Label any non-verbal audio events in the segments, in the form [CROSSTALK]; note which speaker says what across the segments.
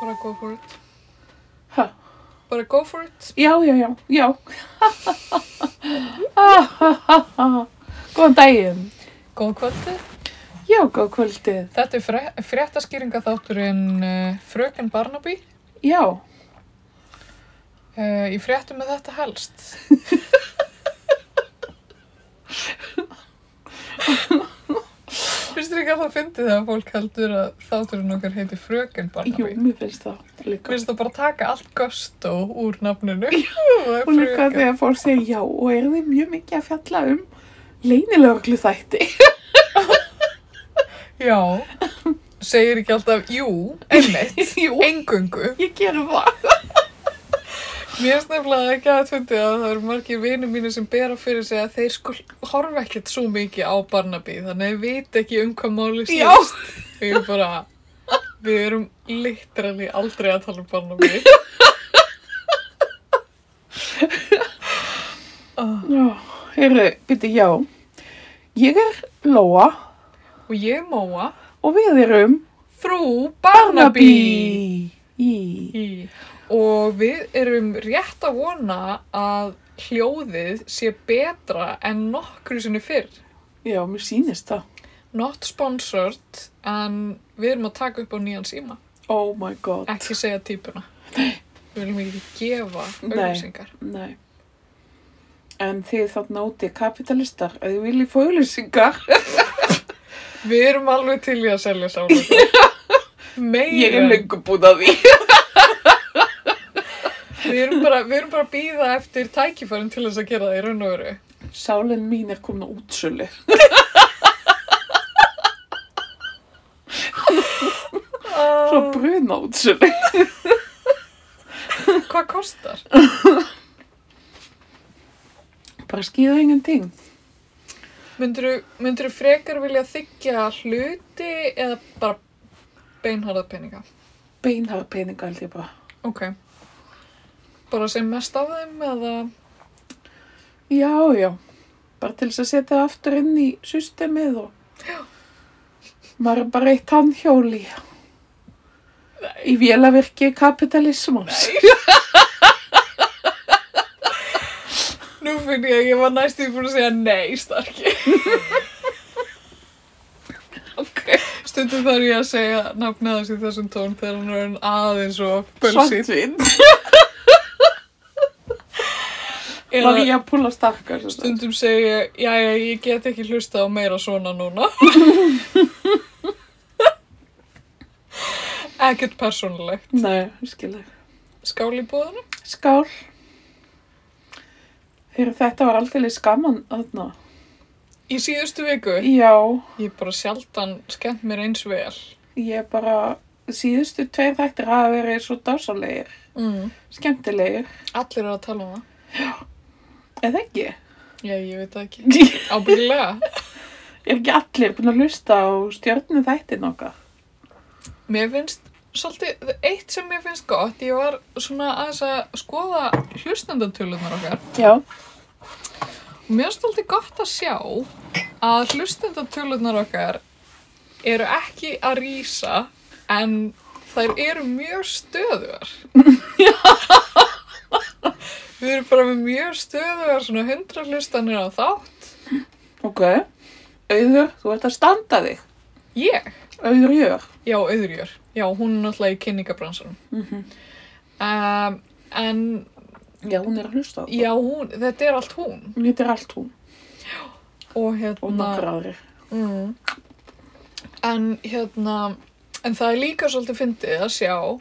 Speaker 1: bara go for it.
Speaker 2: Hæ?
Speaker 1: Bara go for it.
Speaker 2: Já, já, já, já. Góðan daginn.
Speaker 1: Góð kvöldi.
Speaker 2: Já, góð kvöldið.
Speaker 1: Þetta er fre fréttaskýringa þátturinn uh, Fröken Barnaby.
Speaker 2: Já,
Speaker 1: Uh, í fréttum með þetta helst. Finnst þér ekki að það fyndi þegar fólk heldur að þátturinn okkar heiti Fröken
Speaker 2: jú,
Speaker 1: Barnaby?
Speaker 2: mér finnst það líka.
Speaker 1: Finnst það bara taka allt gusto úr nafninu. Það er
Speaker 2: Og líka
Speaker 1: fröken.
Speaker 2: þegar fólk segir já og er þið mjög mikið að fjalla um leynilöglu þætti.
Speaker 1: Já. Segir ekki alltaf, jú, einmitt,
Speaker 2: [LAUGHS] Jú.
Speaker 1: engungu.
Speaker 2: [LAUGHS] Ég gerum það.
Speaker 1: Mér finnst nefnilega ekki að fundi að það eru margir vinir mínu sem bera fyrir sig að þeir skul horfa ekkert svo mikið á Barnaby þannig að þeir vita ekki um hvað máli
Speaker 2: Já.
Speaker 1: snýst. Og Ég bara, við erum literally aldrei að tala um Barnaby. Ah,
Speaker 2: Já, heyrðu, byrju, já. Ég er Lóa
Speaker 1: og ég móa
Speaker 2: og við erum
Speaker 1: frú Barnaby.
Speaker 2: Í.
Speaker 1: Í. Og við erum rétt að vona að hljóðið sé betra en nokkru sinni fyrr.
Speaker 2: Já, mér sýnist það.
Speaker 1: Not sponsored, en við erum að taka upp á nýjan síma.
Speaker 2: Oh my god.
Speaker 1: Ekki segja típuna. Við viljum ekki gefa
Speaker 2: Nei.
Speaker 1: auglýsingar.
Speaker 2: Nei. En þið þarna úti kapitalistar, ef þið viljið fóðlýsingar.
Speaker 1: Við erum alveg til í að selja sálega. Meira.
Speaker 2: [LAUGHS] [LAUGHS] Ég er lengur búin að því.
Speaker 1: Við erum bara, við erum bara að býða eftir tækifærin til þess að gera það í raun og veru.
Speaker 2: Sálinn mín er komin á útsölu. Svo
Speaker 1: Uh,
Speaker 2: bruna útsölu.
Speaker 1: hvað kostar?
Speaker 2: Bara skýða engin ting.
Speaker 1: Myndirðu, myndirðu frekar vilja þykja hluti eða bara beinharða peninga?
Speaker 2: Beinhara peninga held ég bara.
Speaker 1: Ok. Bara sem mest af þeim eða...
Speaker 2: Já, já. Bara til þess að setja það aftur inn í systemið og... Maður er bara eitt tannhjóli. Í vélavirki kapitalismans.
Speaker 1: Nú finn ég að ég var næstu búin að segja nei, starki.
Speaker 2: Ok.
Speaker 1: Stundum þarf ég að segja nafnið hans í þessum tón þegar hann er orðinn aðeins og bölsið.
Speaker 2: Svartvinn.
Speaker 1: Eða
Speaker 2: María Púla Starkar. sem sagt.
Speaker 1: stundum segi ég, jæja, ég get ekki hlusta á meira svona núna. Ekkert persónulegt.
Speaker 2: Nei, ég skil það.
Speaker 1: Skál í búðinu?
Speaker 2: Skál. Þegar þetta var aldrei skaman þarna.
Speaker 1: Í síðustu viku?
Speaker 2: Já,
Speaker 1: Ég hef bara sjaldan skemmt mér eins vel.
Speaker 2: ég bara, síðustu tveir þættir hafa verið svo dásalegir,
Speaker 1: Mm.
Speaker 2: skemmtilegir,
Speaker 1: Allir eru að tala um það.
Speaker 2: eða ekki. [LAUGHS]
Speaker 1: Já, ég veit það ekki.
Speaker 2: er
Speaker 1: Ábyggilega.
Speaker 2: ekki allir búin að hlusta á stjörnu þættin okkar?
Speaker 1: Mér finnst svolítið, eitt sem mér finnst gott, ég var svona aðeins að skoða hlustendatölunar okkar.
Speaker 2: Já.
Speaker 1: Og mér finnst svolítið gott að sjá að hlustendatölunar okkar eru ekki að rýsa en þær eru mjög stöðugar. [LAUGHS] Við erum bara með mjög stöðugar svona 100 hlustanir á þátt.
Speaker 2: Ok. Auður, þú ert að standa þig.
Speaker 1: Ég?
Speaker 2: Auður jör.
Speaker 1: Já, auðurjör. Já, hún er náttúrulega í kynningabransanum.
Speaker 2: Mm -hmm.
Speaker 1: Um, en
Speaker 2: Já, hún er að hlusta á það.
Speaker 1: já, hún, þetta er allt hún.
Speaker 2: Þetta er allt hún
Speaker 1: Og
Speaker 2: og
Speaker 1: hérna,
Speaker 2: nokkur aðrir.
Speaker 1: mm, en hérna, en það er líka svolítið fyndið að sjá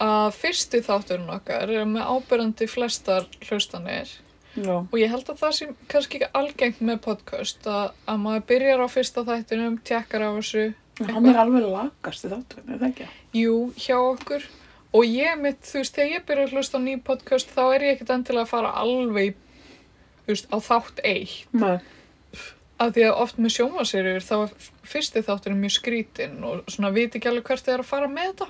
Speaker 1: að fyrsti þátturinn okkar er með ábyrjandi flestar hlustanir
Speaker 2: Já.
Speaker 1: og ég held að það sem kannski ekki algengt með podcast að, að maður byrjar á fyrsta þættinum, tjekkar á þessu,
Speaker 2: En Hann er alveg lagast í þátturinn, eða ekki?
Speaker 1: jú, hjá okkur og ég mitt, þú veist, þegar ég byrja að hlusta á ný podcast þá er ég ekkert endilega að fara alveg, í, þú veist, á þátt eitt
Speaker 2: Nei.
Speaker 1: að því að oft með sjómaserjur þá er fyrsti þátturinn mjög skrítinn og svona viti ekki alveg hvert þið er að fara með þetta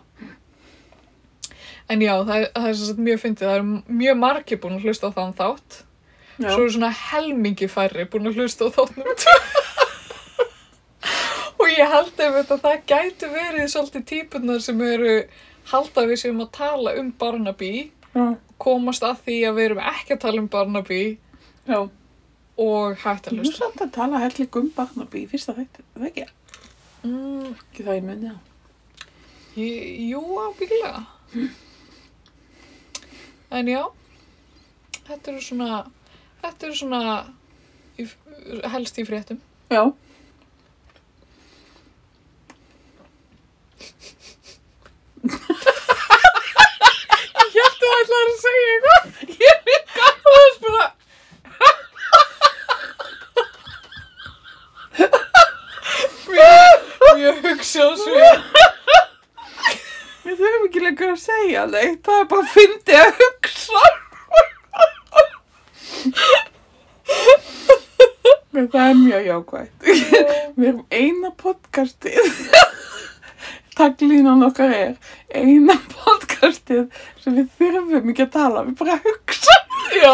Speaker 1: en já, það, er- það er sem sagt mjög fyndið það eru mjög margir búin að hlusta á þann þátt
Speaker 2: Já.
Speaker 1: svo eru svona helmingi færri búin að hlusta á þáttnum [LAUGHS] og ég held ef þetta það gæti verið svolítið típunar sem eru halda að við séum að tala um Barnaby
Speaker 2: já,
Speaker 1: komast að því að við erum ekki að tala um Barnaby
Speaker 2: já.
Speaker 1: og hægt að
Speaker 2: Ég er
Speaker 1: hlusta
Speaker 2: samt að tala helling um Barnaby í fyrsta þætti, er það ekki?
Speaker 1: mm,
Speaker 2: Ekki það ég muni það.
Speaker 1: ég- Jú, ábyggilega En já þetta eru svona þetta eru svona í, helst í fréttum
Speaker 2: Já.
Speaker 1: Ég held að það ætlaði að segja eitthvað Ég er gafið að spila Mjög, mjög hugsa á svo
Speaker 2: Við þurfum ekki lengur að segja neitt, það er bara að fyndi að hugsa. Men það er mjög jákvægt. Við erum eina podcastið. Taglínan okkar er eina podcastið sem við þurfum ekki að tala, við bara hugsa.
Speaker 1: Já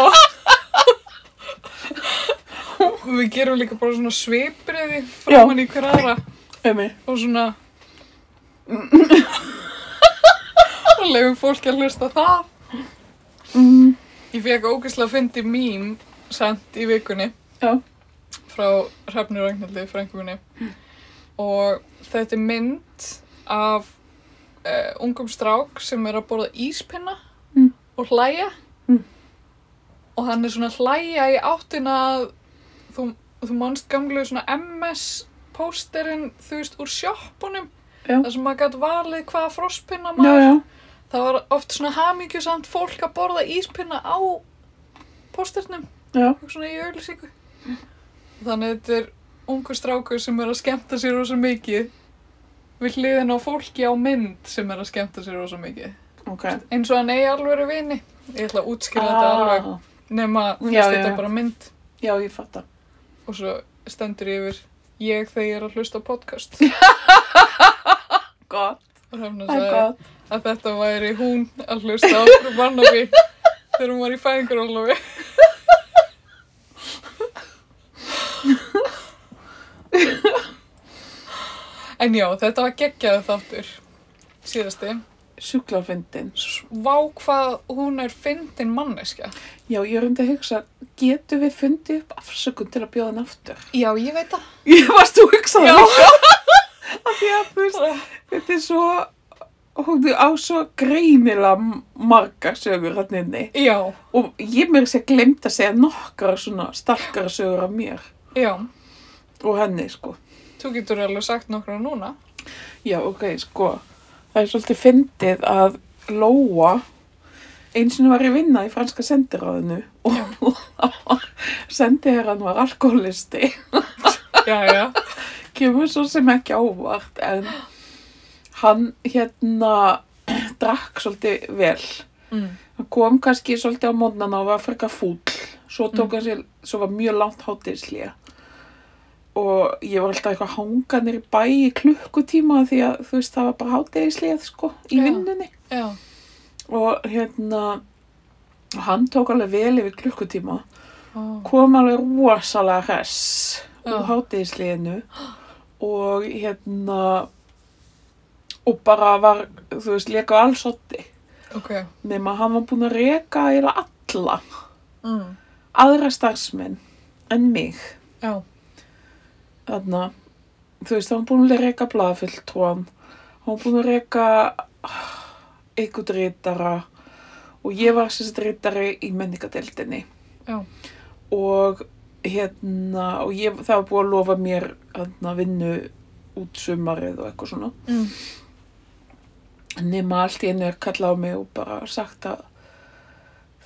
Speaker 1: Við gerum líka bara svona svipriði framan í hver aðra
Speaker 2: Emi,
Speaker 1: og svona og leiðum fólki að hlusta það
Speaker 2: mm,
Speaker 1: Ég fekk ógeðslega að fyndi mím sent í vikunni
Speaker 2: Já.
Speaker 1: frá Hrefnu Ragnhildi, frængu minni og þetta er mynd af uh, ungum strák sem er að borða íspinna
Speaker 2: Mm.
Speaker 1: og hlæja
Speaker 2: Mm.
Speaker 1: og hann er svona að hlæja í áttina að þú, þú manst gamlu svona MS pósterinn, þú veist, úr sjoppunum
Speaker 2: Já.
Speaker 1: þar sem maður gætt valið hvaða frospinna
Speaker 2: já,
Speaker 1: maður
Speaker 2: já,
Speaker 1: Það var oft svona hamingjusamt fólk að borða íspinna á pósternum,
Speaker 2: já,
Speaker 1: svona í auðlýsingu. Þannig að þetta er ungu strákur sem er að skemmta sér rosa mikið við hliðin á fólki á mynd sem er að skemmta sér rosa mikið.
Speaker 2: ok.
Speaker 1: Eins og hann eigi alveg vini. Ég ætla að útskýra þetta alveg
Speaker 2: Ah,
Speaker 1: nema fyrst
Speaker 2: Já,
Speaker 1: þetta
Speaker 2: já,
Speaker 1: er
Speaker 2: já.
Speaker 1: bara mynd
Speaker 2: Já, ég fatta.
Speaker 1: og svo stendur yfir ég þegar ég er að hlusta á
Speaker 2: [LAUGHS]
Speaker 1: podcast.
Speaker 2: Gott,
Speaker 1: Og Hrefna
Speaker 2: það er
Speaker 1: sagði
Speaker 2: gott.
Speaker 1: að þetta væri hún að hlusta á frú Barnaby þegar hún var í fæðingarólofi. en já, þetta var geggjaðu þáttur síðasti.
Speaker 2: Sjúklafyndin.
Speaker 1: Vá hvað hún er fyndin manneskja.
Speaker 2: Já, ég er um að hugsa, getum við fundið upp afsökun til að bjóða hann [LAUGHS] aftur?
Speaker 1: Já, ég veit það.
Speaker 2: Ég varst að hugsa
Speaker 1: Já.
Speaker 2: líka. Af því að þú veist, þetta er svo, hún er á svo greinilega margar sögur hann inni.
Speaker 1: Já,
Speaker 2: Og ég mér sé glemt að segja nokkara svona starkara sögur af mér
Speaker 1: já.
Speaker 2: og henni, sko.
Speaker 1: Þú getur alveg sagt nokkra núna.
Speaker 2: Já, ok, sko. Það er svolítið fyndið að Lóa eins og var ég vinna í franska sendiráðinu og [LAUGHS] sendiherran var alkoholisti.
Speaker 1: Já, já.
Speaker 2: kemur svo sem ekki ávart en hann hérna drakk svolítið vel
Speaker 1: Mm.
Speaker 2: hann kom kannski svolítið á mótnana og var frekar fúll svo tók hann sér, svo var mjög langt hátíðislega og ég var alltaf eitthvað hanganir í bæ í klukkutíma því að þú veist það var bara hátíðislega sko í
Speaker 1: Já.
Speaker 2: vinnunni
Speaker 1: Já,
Speaker 2: og hérna hann tók alveg vel yfir klukkutíma
Speaker 1: Ó.
Speaker 2: kom alveg rosalega hress
Speaker 1: Já.
Speaker 2: úr hátíðisliðinu og hérna og bara var, þú veist, leka á alls otti
Speaker 1: ok.
Speaker 2: nema hann var búinn að reka eða alla
Speaker 1: Mm.
Speaker 2: aðra starfsmenn en mig
Speaker 1: Já,
Speaker 2: þarna, þú veist, hann var búinn að reka blaðfylltrúan hann var búinn að reka eitthvað rítara og ég var sérst rítari í menningadeildinni
Speaker 1: já,
Speaker 2: og hérna og ég, það var búið að lofa mér hérna, vinnu út sumarið og eitthvað svona
Speaker 1: mm.
Speaker 2: nema allt í einu er kallað á mig og bara sagt að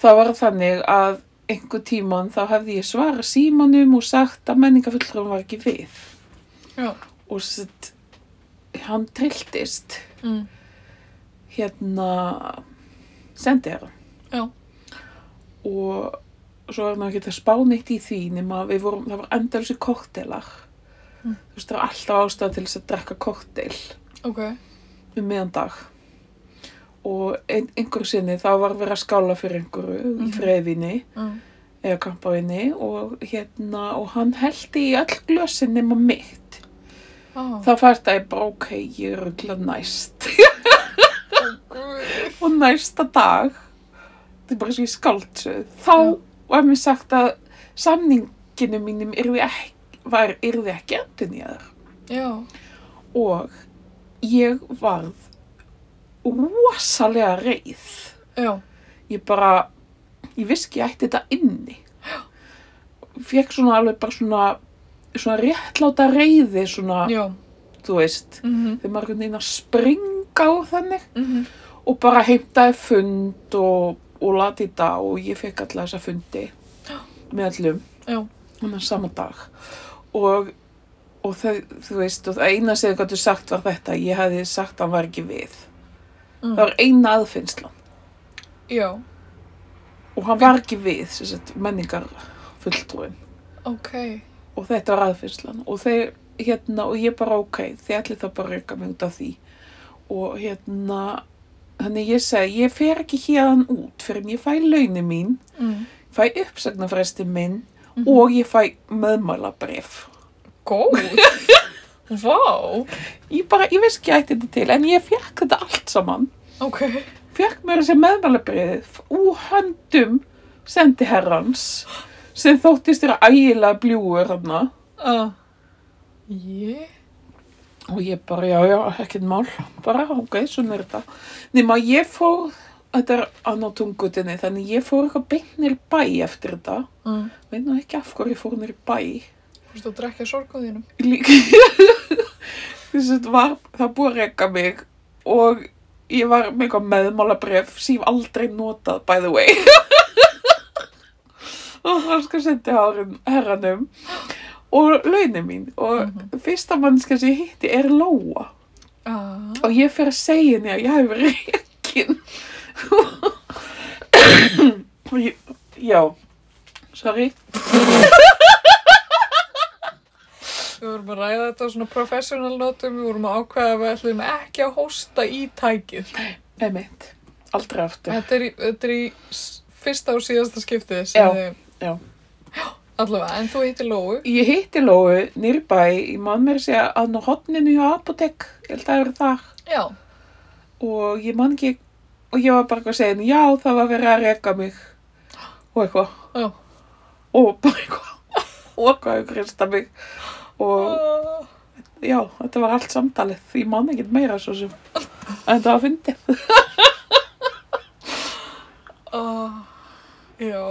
Speaker 2: það var þannig að einhver tíman þá hefði ég svarað símanum og sagt að menningafulltrúum var ekki við
Speaker 1: já.
Speaker 2: og sett, hann trilltist
Speaker 1: Mm.
Speaker 2: hérna sendi hann
Speaker 1: Já.
Speaker 2: og svo var hann ekki að spá neitt í því nema við vorum, það var endalsi koktelar
Speaker 1: Mm.
Speaker 2: þú veist það var alltaf ástæða til þess að drekka koktel
Speaker 1: Ok.
Speaker 2: um miðan dag og ein, einhver sinni þá var verið að skála fyrir einhverju í
Speaker 1: Mhm.
Speaker 2: freyðinni
Speaker 1: Mm.
Speaker 2: eða kampaðinni og hérna og hann held í öll glösin nema mitt
Speaker 1: Ah.
Speaker 2: þá fært að ég bara ok, ég er örugglega næst
Speaker 1: Guð.
Speaker 2: og næsta dag þetta er bara svo í skáldsöð þá
Speaker 1: Já.
Speaker 2: var mér sagt að samninginu mínum yrði ekki, var, yrði ekki endin í þar
Speaker 1: já,
Speaker 2: og ég varð rosalega reið
Speaker 1: já,
Speaker 2: ég bara ég vissi ekki að ég ætti þetta inni fekk svona alveg bara svona svona réttláta reiði svona,
Speaker 1: já,
Speaker 2: þú veist
Speaker 1: mhm,
Speaker 2: þegar maður er einhvern veginn að springa á þannig
Speaker 1: mhm,
Speaker 2: og bara heimtaði fund og, og lati í dag og ég fekk alla þessa fundi með allum
Speaker 1: já,
Speaker 2: þannig sama dag og, og það, þú veist og það eina sem þau gætu sagt var þetta ég hefði sagt að hann var ekki við
Speaker 1: Mm.
Speaker 2: það var eina aðfinnslan
Speaker 1: já,
Speaker 2: og hann var ekki við sem sagt, menningar fulltrúin
Speaker 1: ok,
Speaker 2: og þetta var aðfinnslan og þeir hérna og ég bara ok þið ætli það bara að reyka mig út af því og hérna þannig ég segi ég fer ekki hérðan út fyrir en ég fæ launi mín
Speaker 1: mhm.
Speaker 2: fæ uppsagnarfresti minn og ég fæ meðmálabref
Speaker 1: Góð!
Speaker 2: [LAUGHS]
Speaker 1: Vá!
Speaker 2: ég bara, ég veist ekki að ég ætti þetta til en ég fekk þetta allt saman
Speaker 1: Ok,
Speaker 2: fekk mér þessi meðmálabref úr höndum sendi herrans sem þóttist þér ægilega bljúur hana
Speaker 1: uh, ég,
Speaker 2: Og ég bara, já, já, ekkert mál, bara, ok, svona er þetta. Nýma, ég fór, þetta er annar tungutinni, þannig ég fór eitthvað beint nýr bæ eftir þetta.
Speaker 1: mm.
Speaker 2: Veit nú ekki af hverju ég fór nýr bæ.
Speaker 1: fórstu að drekja sorgum þínum?
Speaker 2: Líka, [LAUGHS] þess að var, það búið að reka mig og ég var með eitthvað meðmálabref sem ég hef aldrei notað, by the way. [LAUGHS] og franska sendi hárun herranum og launin mín og fyrsta mannska sem ég hitti er Lóa.
Speaker 1: Ah,
Speaker 2: og ég fer að segja henni að ég hef verið reikin og ég, já sorry,
Speaker 1: við vorum að ræða þetta á svona professional notum, við vorum að ákveða að við ætlum ekki að hósta í tækið.
Speaker 2: emitt aldrei aftur,
Speaker 1: Þetta er í, þetta er í s- fyrsta og síðasta skiptið
Speaker 2: Já,
Speaker 1: sem þið...
Speaker 2: já.
Speaker 1: Allavega, en þú hittir Lóu.
Speaker 2: ég hitti Lóu nýrbæ, ég man mér að segja að nú hotninu hjá apotek, ég held að það eru þar
Speaker 1: Já,
Speaker 2: og ég man ekki og ég var bara eitthvað að segja henni, já það var verið að reka mig og eitthvað
Speaker 1: já.
Speaker 2: og bara eitthvað og eitthvað að krista mig og
Speaker 1: Ah,
Speaker 2: já, þetta var allt samtalið ég man ekkert meira svo sem en þetta var fyndið
Speaker 1: ah, já.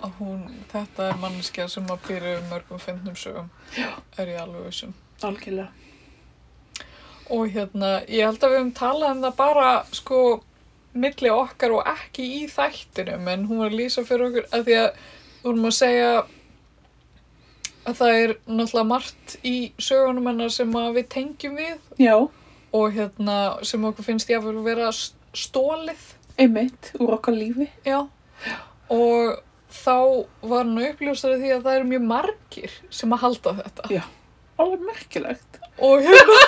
Speaker 1: Að Hún, þetta er manneskja sem að býra um mörgum fyndnum sögum, er ég alveg vissum.
Speaker 2: Algjörlega.
Speaker 1: Og hérna, ég held að við höfum talað um það bara, sko, milli okkar og ekki í þættinum, en hún var að lýsa fyrir okkur, að því að við vorum að segja að það er náttúrulega margt í sögunum hennar sem að við tengjum við
Speaker 2: Já,
Speaker 1: og hérna, sem okkur finnst ég að vera s- stólið,
Speaker 2: einmitt, úr okkar lífi.
Speaker 1: já, og þá var hann að uppljósta því að það eru mjög margir sem að halda þetta.
Speaker 2: Alveg merkilegt.
Speaker 1: og hérna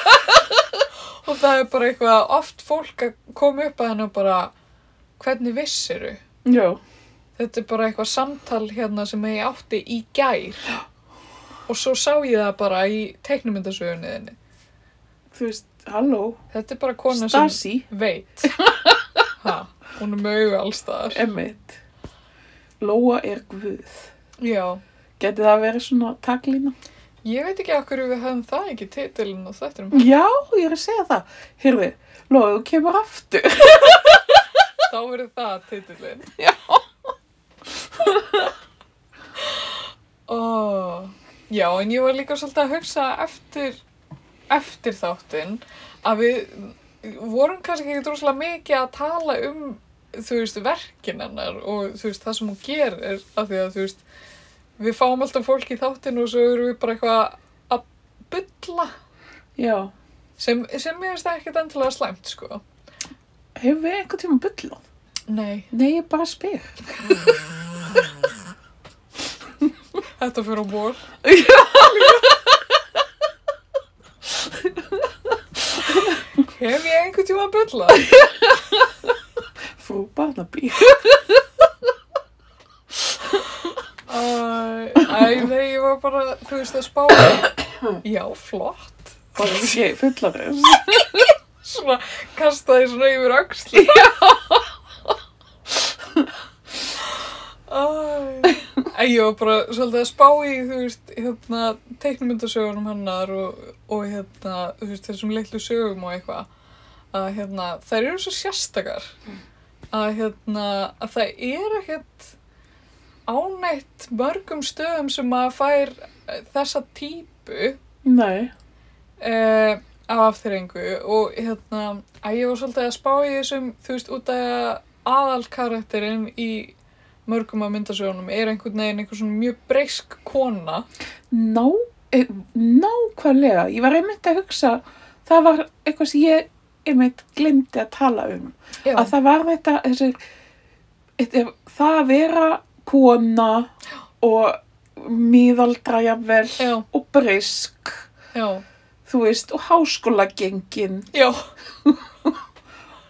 Speaker 1: [LAUGHS] og það er bara eitthvað oft fólk að koma upp að henni og bara hvernig vissiru
Speaker 2: Já.
Speaker 1: þetta er bara eitthvað samtal hérna sem ég átti í gær og svo sá ég það bara í teiknumyndasögunniðinni
Speaker 2: Þú veist, halló,
Speaker 1: þetta er bara kona
Speaker 2: Stasi,
Speaker 1: sem veit ha, hún er með augu allstaðar
Speaker 2: einmitt. Lóa er guð.
Speaker 1: já,
Speaker 2: Geti það verið svona taglína?
Speaker 1: ég veit ekki okkur við höfum það ekki titilin og þetta er
Speaker 2: Já, ég er að segja það. Heyrðu, Lóa, þú kemur aftur.
Speaker 1: þá verður það titilin
Speaker 2: Já.
Speaker 1: [LAUGHS] Ó, já, en ég var líka svolítið að hugsa eftir, eftir þáttinn að við vorum kannski ekki droslega mikið að tala um, þú veist, verkin hennar og þú veist, það sem hún gerir af því að, þú veist, við fáum alltaf fólk í þáttinn og svo erum við bara eitthvað að bylla
Speaker 2: Já.
Speaker 1: sem, sem mér finnst ekkert endilega slæmt, sko.
Speaker 2: Hefur við einhvern tíma byllað?
Speaker 1: Nei,
Speaker 2: Nei, ég bara spyr.
Speaker 1: þetta fyrir á vor. Hef ég einhvern tíma að bylla?
Speaker 2: Frú Barnaby.
Speaker 1: Æ, æ, nei, ég var bara, þú veist, að spá Já, flott
Speaker 2: Bara ég fullar þess.
Speaker 1: svona kastaði svona yfir öxli. Já. Æ, En ég var bara svolítið að spá í, þú veist, hérna, teiknumyndasögunum hennar og, og hérna, þú veist, þessum litlu sögum og eitthvað, að hérna, þær eru svo sérstakar, að hérna, að það er ekkert ánætt mörgum stöðum sem að fær eh, þessa típu,
Speaker 2: Nei.
Speaker 1: uh, af afþrengu og hérna að ég var svolítið að spá í þessum þú veist út að aðal karakterinn í mörgum af myndasögunum er einhvern veginn einhver svona mjög breysk kona
Speaker 2: Ná, e, nákvæmlega. Ég var einmitt að hugsa, það var eitthvað sem ég einmitt glemdi að tala um.
Speaker 1: Já,
Speaker 2: Að það var þetta, þessi, þetta, það að vera kona og miðaldra jafnvel
Speaker 1: já,
Speaker 2: og brisk,
Speaker 1: já,
Speaker 2: þú veist, og háskólagengin
Speaker 1: já,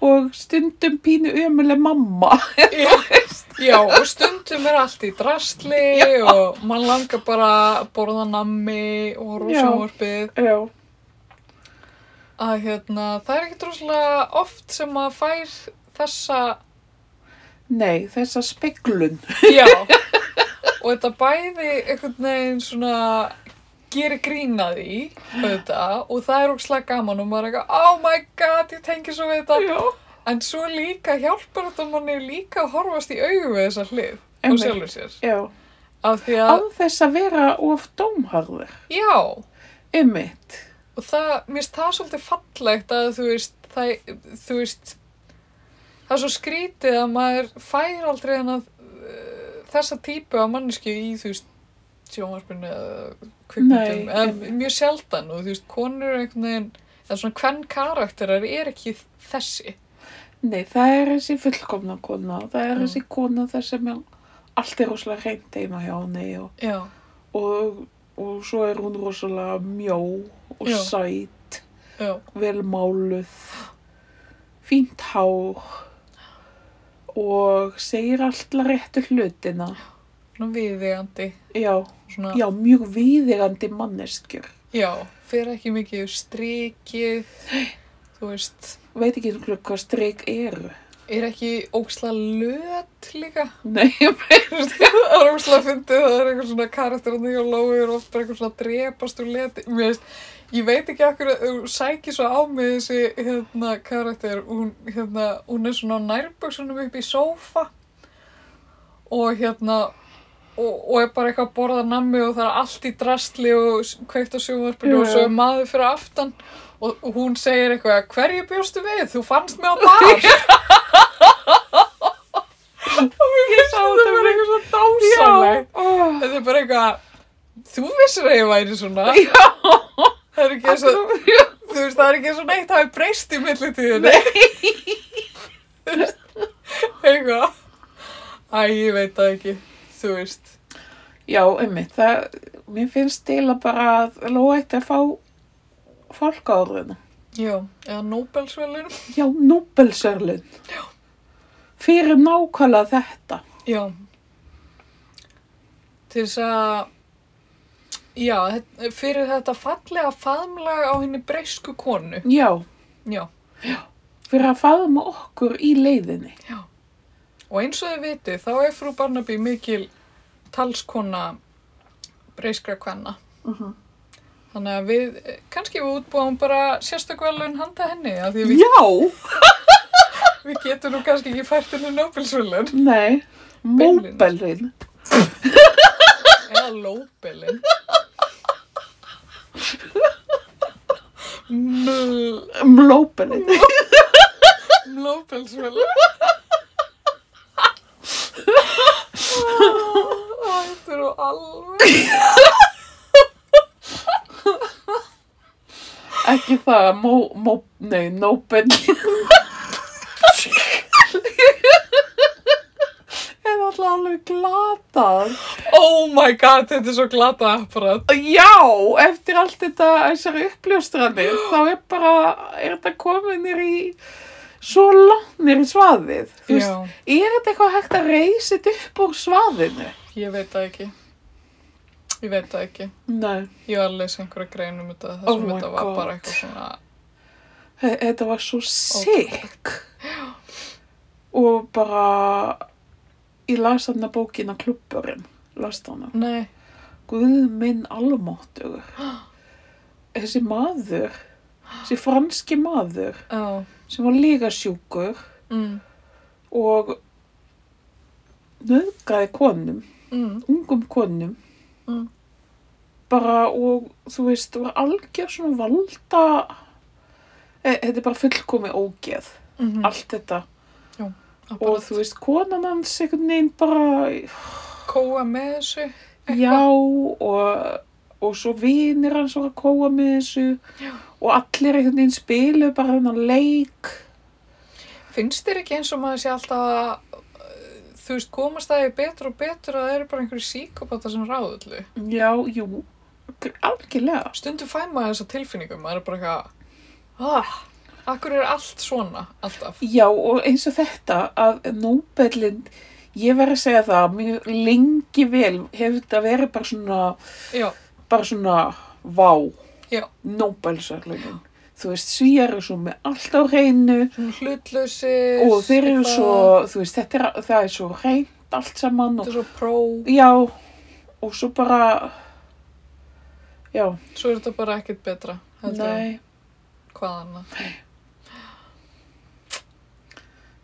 Speaker 2: og stundum pínu ömuleg mamma. [LAUGHS]
Speaker 1: já, já og stundum er allt í drastli og mann langar bara að borða nammi og horfa á
Speaker 2: Já.
Speaker 1: sjónvarpið
Speaker 2: Já,
Speaker 1: að hérna það er ekkert rosalega oft sem að fær þessa
Speaker 2: nei, þessa speglun.
Speaker 1: Já, og þetta bæði einhvern veginn svona gerir grína því auðvitað, og það er ógslag gaman og maður er eitthvað, oh my god, ég tengi svo við þetta
Speaker 2: Já,
Speaker 1: en svo líka hjálpar þetta manni líka að horfast í augu við þessa hlið á
Speaker 2: Einmitt.
Speaker 1: sjálfur sér
Speaker 2: já.
Speaker 1: af því að,
Speaker 2: Án þess að vera of dómharður.
Speaker 1: já og
Speaker 2: Einmitt.
Speaker 1: það, mér finnst það svolítið fallegt að þú veist, það, þú veist það er svo skrítið að maður fær aldrei hana, eh, þessa típu af mannesku í þú veist sjónvarpinu eða kvikmyndum
Speaker 2: Nei,
Speaker 1: eða
Speaker 2: einmitt.
Speaker 1: mjög sjaldan og þú veist konur eru einhvern veginn eða svona hvern karakterar er ekki þessi
Speaker 2: Nei, það er þessi fullkomna kona, það er
Speaker 1: Mm.
Speaker 2: þessi kona þar sem er, allt er rosalega reynd heima hjá henni og,
Speaker 1: já,
Speaker 2: og, og svo er hún rosalega mjó og
Speaker 1: Já.
Speaker 2: sæt,
Speaker 1: já,
Speaker 2: velmáluð, fínt hár og segir alltaf réttu hlutina.
Speaker 1: svona viðegandi
Speaker 2: Já,
Speaker 1: svona,
Speaker 2: já, mjög viðirandi manneskjur.
Speaker 1: já, fer ekki mikið yfir strikið þú veist,
Speaker 2: Veit ekki einhverju hvað streik eru.
Speaker 1: er ekki óksla löt líka
Speaker 2: Nei, [LAUGHS]
Speaker 1: Þú veist, það er óslega fyndið, það er einhver svona karakterandi hjá Lói er ofta einhver svona drepast úr leti, mér veist, ég veit ekki okkur að þú sækir svo á mig þessi hérna karakter, hún, hérna, hún er svona á nærböksunum upp í sófa og hérna, og, og er bara eitthvað að borða nammi og það er allt í drastli og s- kveikt á sjónvarpinu
Speaker 2: Jú,
Speaker 1: og svo
Speaker 2: jú.
Speaker 1: er maður fyrir aftan og og hún segir eitthvað, hverju bjóstu við, þú fannst mig á [LAUGHS] bar. og mér finnst þetta að
Speaker 2: þetta
Speaker 1: vera eitthvað svo
Speaker 2: já,
Speaker 1: dásamlegt.
Speaker 2: ó,
Speaker 1: Þetta er bara eitthvað, þú vissir að ég væri svona. [LAUGHS]
Speaker 2: já,
Speaker 1: Það er ekki eins og, þú veist, það er ekki eins og neitt hafi breyst í millitíðinni. Nei. [LAUGHS] þú veist, eitthvað. Æ, ég veit það ekki, þú veist.
Speaker 2: Já, einmitt, það, mér finnst eiginlega bara að Lóa ætti að fá fólk á orðinu.
Speaker 1: Já, eða Nobelsvelun.
Speaker 2: Já, Nobelsörlun. Já. Fyrir nákvæmlega þetta.
Speaker 1: Já. Til þess að, já, þe- fyrir þetta fallega faðmlag á henni breysku konu.
Speaker 2: Já,
Speaker 1: Já.
Speaker 2: fyrir að faðma okkur í leiðinni.
Speaker 1: Og eins og þið vitið, þá er frú Barnaby mikil talskona breyskra kvenna.
Speaker 2: Uh -huh.
Speaker 1: Þannig að við, eh, kannski við útbúum bara sérstakvelun handa henni, af því við,
Speaker 2: Já,
Speaker 1: við getum nú kannski ekki fært henni Nobelsvölun.
Speaker 2: nei,
Speaker 1: Beinlínis.
Speaker 2: Nobelin.
Speaker 1: Eða Lóbelin. Ml-
Speaker 2: Mlóbelin.
Speaker 1: Nobelsvölun. Þetta eru alveg...
Speaker 2: Ekki það, mó, mó, nei, Nobelin. Það er alltaf alveg glatað.
Speaker 1: Oh my god, þetta er svo glata apparat.
Speaker 2: Já, eftir allt þetta þessari uppljóstranir, þá er bara, er þetta komið nýr í svo langt nýr í svaðið. Þú veist,
Speaker 1: Já.
Speaker 2: er þetta eitthvað hægt að reysa þetta upp úr svaðinu?
Speaker 1: Ég veit það ekki. Ég veit það ekki.
Speaker 2: Nei.
Speaker 1: Ég var að lesa einhverja grein um þetta þar
Speaker 2: Oh
Speaker 1: sem
Speaker 2: my
Speaker 1: þetta var
Speaker 2: God.
Speaker 1: bara eitthvað svona
Speaker 2: Þe- Þetta var svo sick. Og bara, ég las þarna bókina klubburinn, las þarna.
Speaker 1: Nei,
Speaker 2: Guð minn almáttugur. Þessi maður, þessi franski maður
Speaker 1: já,
Speaker 2: sem var líka sjúkur
Speaker 1: mm,
Speaker 2: og nöðgaði konum,
Speaker 1: mm,
Speaker 2: ungum konum.
Speaker 1: Mm.
Speaker 2: Bara og þú veist, var algjör svona valda, e, þetta er bara fullkomi ógeð,
Speaker 1: mm
Speaker 2: allt þetta. Og
Speaker 1: Bara
Speaker 2: þú veist, konan hans einhvern veginn bara,
Speaker 1: kóa með þessu.
Speaker 2: Já, og, og svo vinir hans voru að kóa með þessu
Speaker 1: Já.
Speaker 2: og allir einhvern veginn spilu bara þennan leik.
Speaker 1: Finnst þér ekki eins og maður sé alltaf að, uh, þú veist, komast það í betur og betur að það eru bara einhverju síkobata sem ráðu öllu.
Speaker 2: Já, jú, gr- algjörlega.
Speaker 1: Stundum fær maður þessa tilfinningu, maður er bara eitthvað, ah, akkur er allt svona, alltaf.
Speaker 2: Já, og eins og þetta að Nóbelin, ég verð að segja það, mjög lengi vel hefur þetta verið bara svona,
Speaker 1: Já,
Speaker 2: bara svona vá,
Speaker 1: Já.
Speaker 2: Nóbelsarlegin. Þú veist, svíjar er svo með allt á hreinu
Speaker 1: svona hlutlösi.
Speaker 2: og þeir eru svo, þú veist, þetta er, það er svo hreint allt saman og
Speaker 1: Þetta er svo pró,
Speaker 2: Já, og svo bara, já,
Speaker 1: svo er þetta bara ekkert betra, heldur en
Speaker 2: nei,
Speaker 1: hvað annað.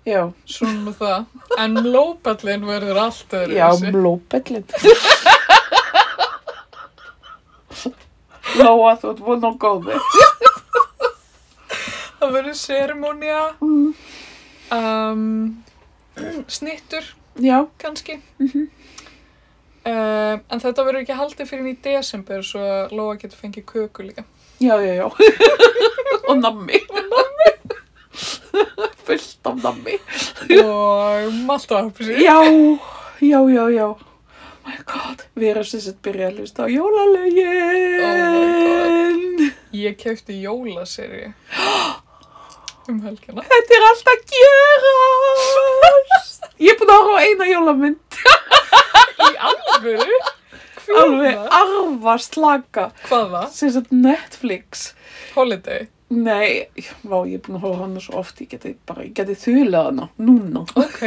Speaker 2: já,
Speaker 1: Svona með það. En lópallin verður allt öðru
Speaker 2: já, [LAUGHS] blóbellin. Lóa, þú ert vona og góði.
Speaker 1: Það verður sérmónia,
Speaker 2: Mm,
Speaker 1: um, snittur
Speaker 2: já,
Speaker 1: kannski.
Speaker 2: Mhm.
Speaker 1: um, en þetta verður ekki haldið fyrir í desember svo að Lóa getur fengið köku líka.
Speaker 2: já, já, já, [LAUGHS] og nammi. Og nammi. [LAUGHS] Fullt af nammi.
Speaker 1: Og malta upp sér.
Speaker 2: Já, já, já, já. Oh my god, við erum sem sett byrjað að hlusta á jólalögin.
Speaker 1: Ég kefti jólaserju [GASPS] um helgina.
Speaker 2: Þetta er allt að gerast. Ég er búin að horfa á eina jólamynd.
Speaker 1: Í alvöru?
Speaker 2: Alveg
Speaker 1: Hvíla?
Speaker 2: arfa slaka.
Speaker 1: Hvað var?
Speaker 2: Sem sagt Netflix.
Speaker 1: Holiday?
Speaker 2: Nei, vá, ég er búin að horfa á hana svo oft. Ég geti bara, ég geti þulað hana núna.
Speaker 1: Ok.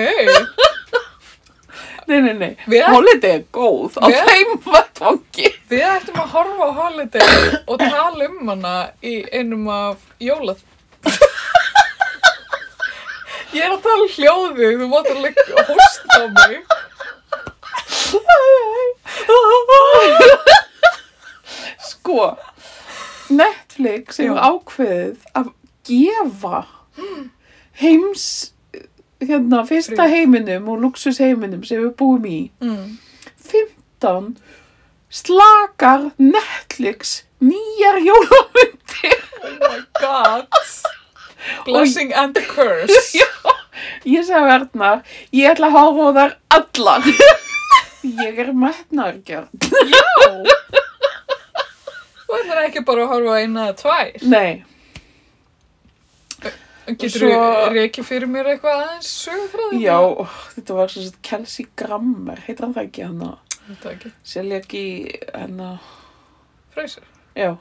Speaker 2: Nei, nei, nei.
Speaker 1: Við,
Speaker 2: Holiday er góð á
Speaker 1: Vel.
Speaker 2: þeim vettvangi.
Speaker 1: við ættum að horfa á Holiday og tala um hana í einum af jólað. [LAUGHS] Ég er að tala um hljóðið, þú mátt að leggja hóst á mig.
Speaker 2: Sko, Netflix hefur
Speaker 1: Já.
Speaker 2: ákveðið að gefa heims, hérna, fyrsta
Speaker 1: Frið.
Speaker 2: heiminum og luxus heiminum sem við búum í.
Speaker 1: Mm.
Speaker 2: 15 slakar Netflix nýjar jólamyndir.
Speaker 1: Oh my god. Blessing and a curse.
Speaker 2: [LAUGHS] Já, ég sagði Arnar, ég ætla að horfa á þær allar. [LAUGHS] Ég er metnaðargjörn.
Speaker 1: Þú ætlar ekki bara að horfa á eina eða tvær.
Speaker 2: Nei,
Speaker 1: Getur þú
Speaker 2: Svo-
Speaker 1: reikið fyrir mér eitthvað aðeins sögufræðið?
Speaker 2: já, ó, þetta var svo sett Kelsey Grammer, heitir hann það ekki hann að
Speaker 1: Þetta ekki.
Speaker 2: selja ekki hann að,
Speaker 1: Freyser.
Speaker 2: já,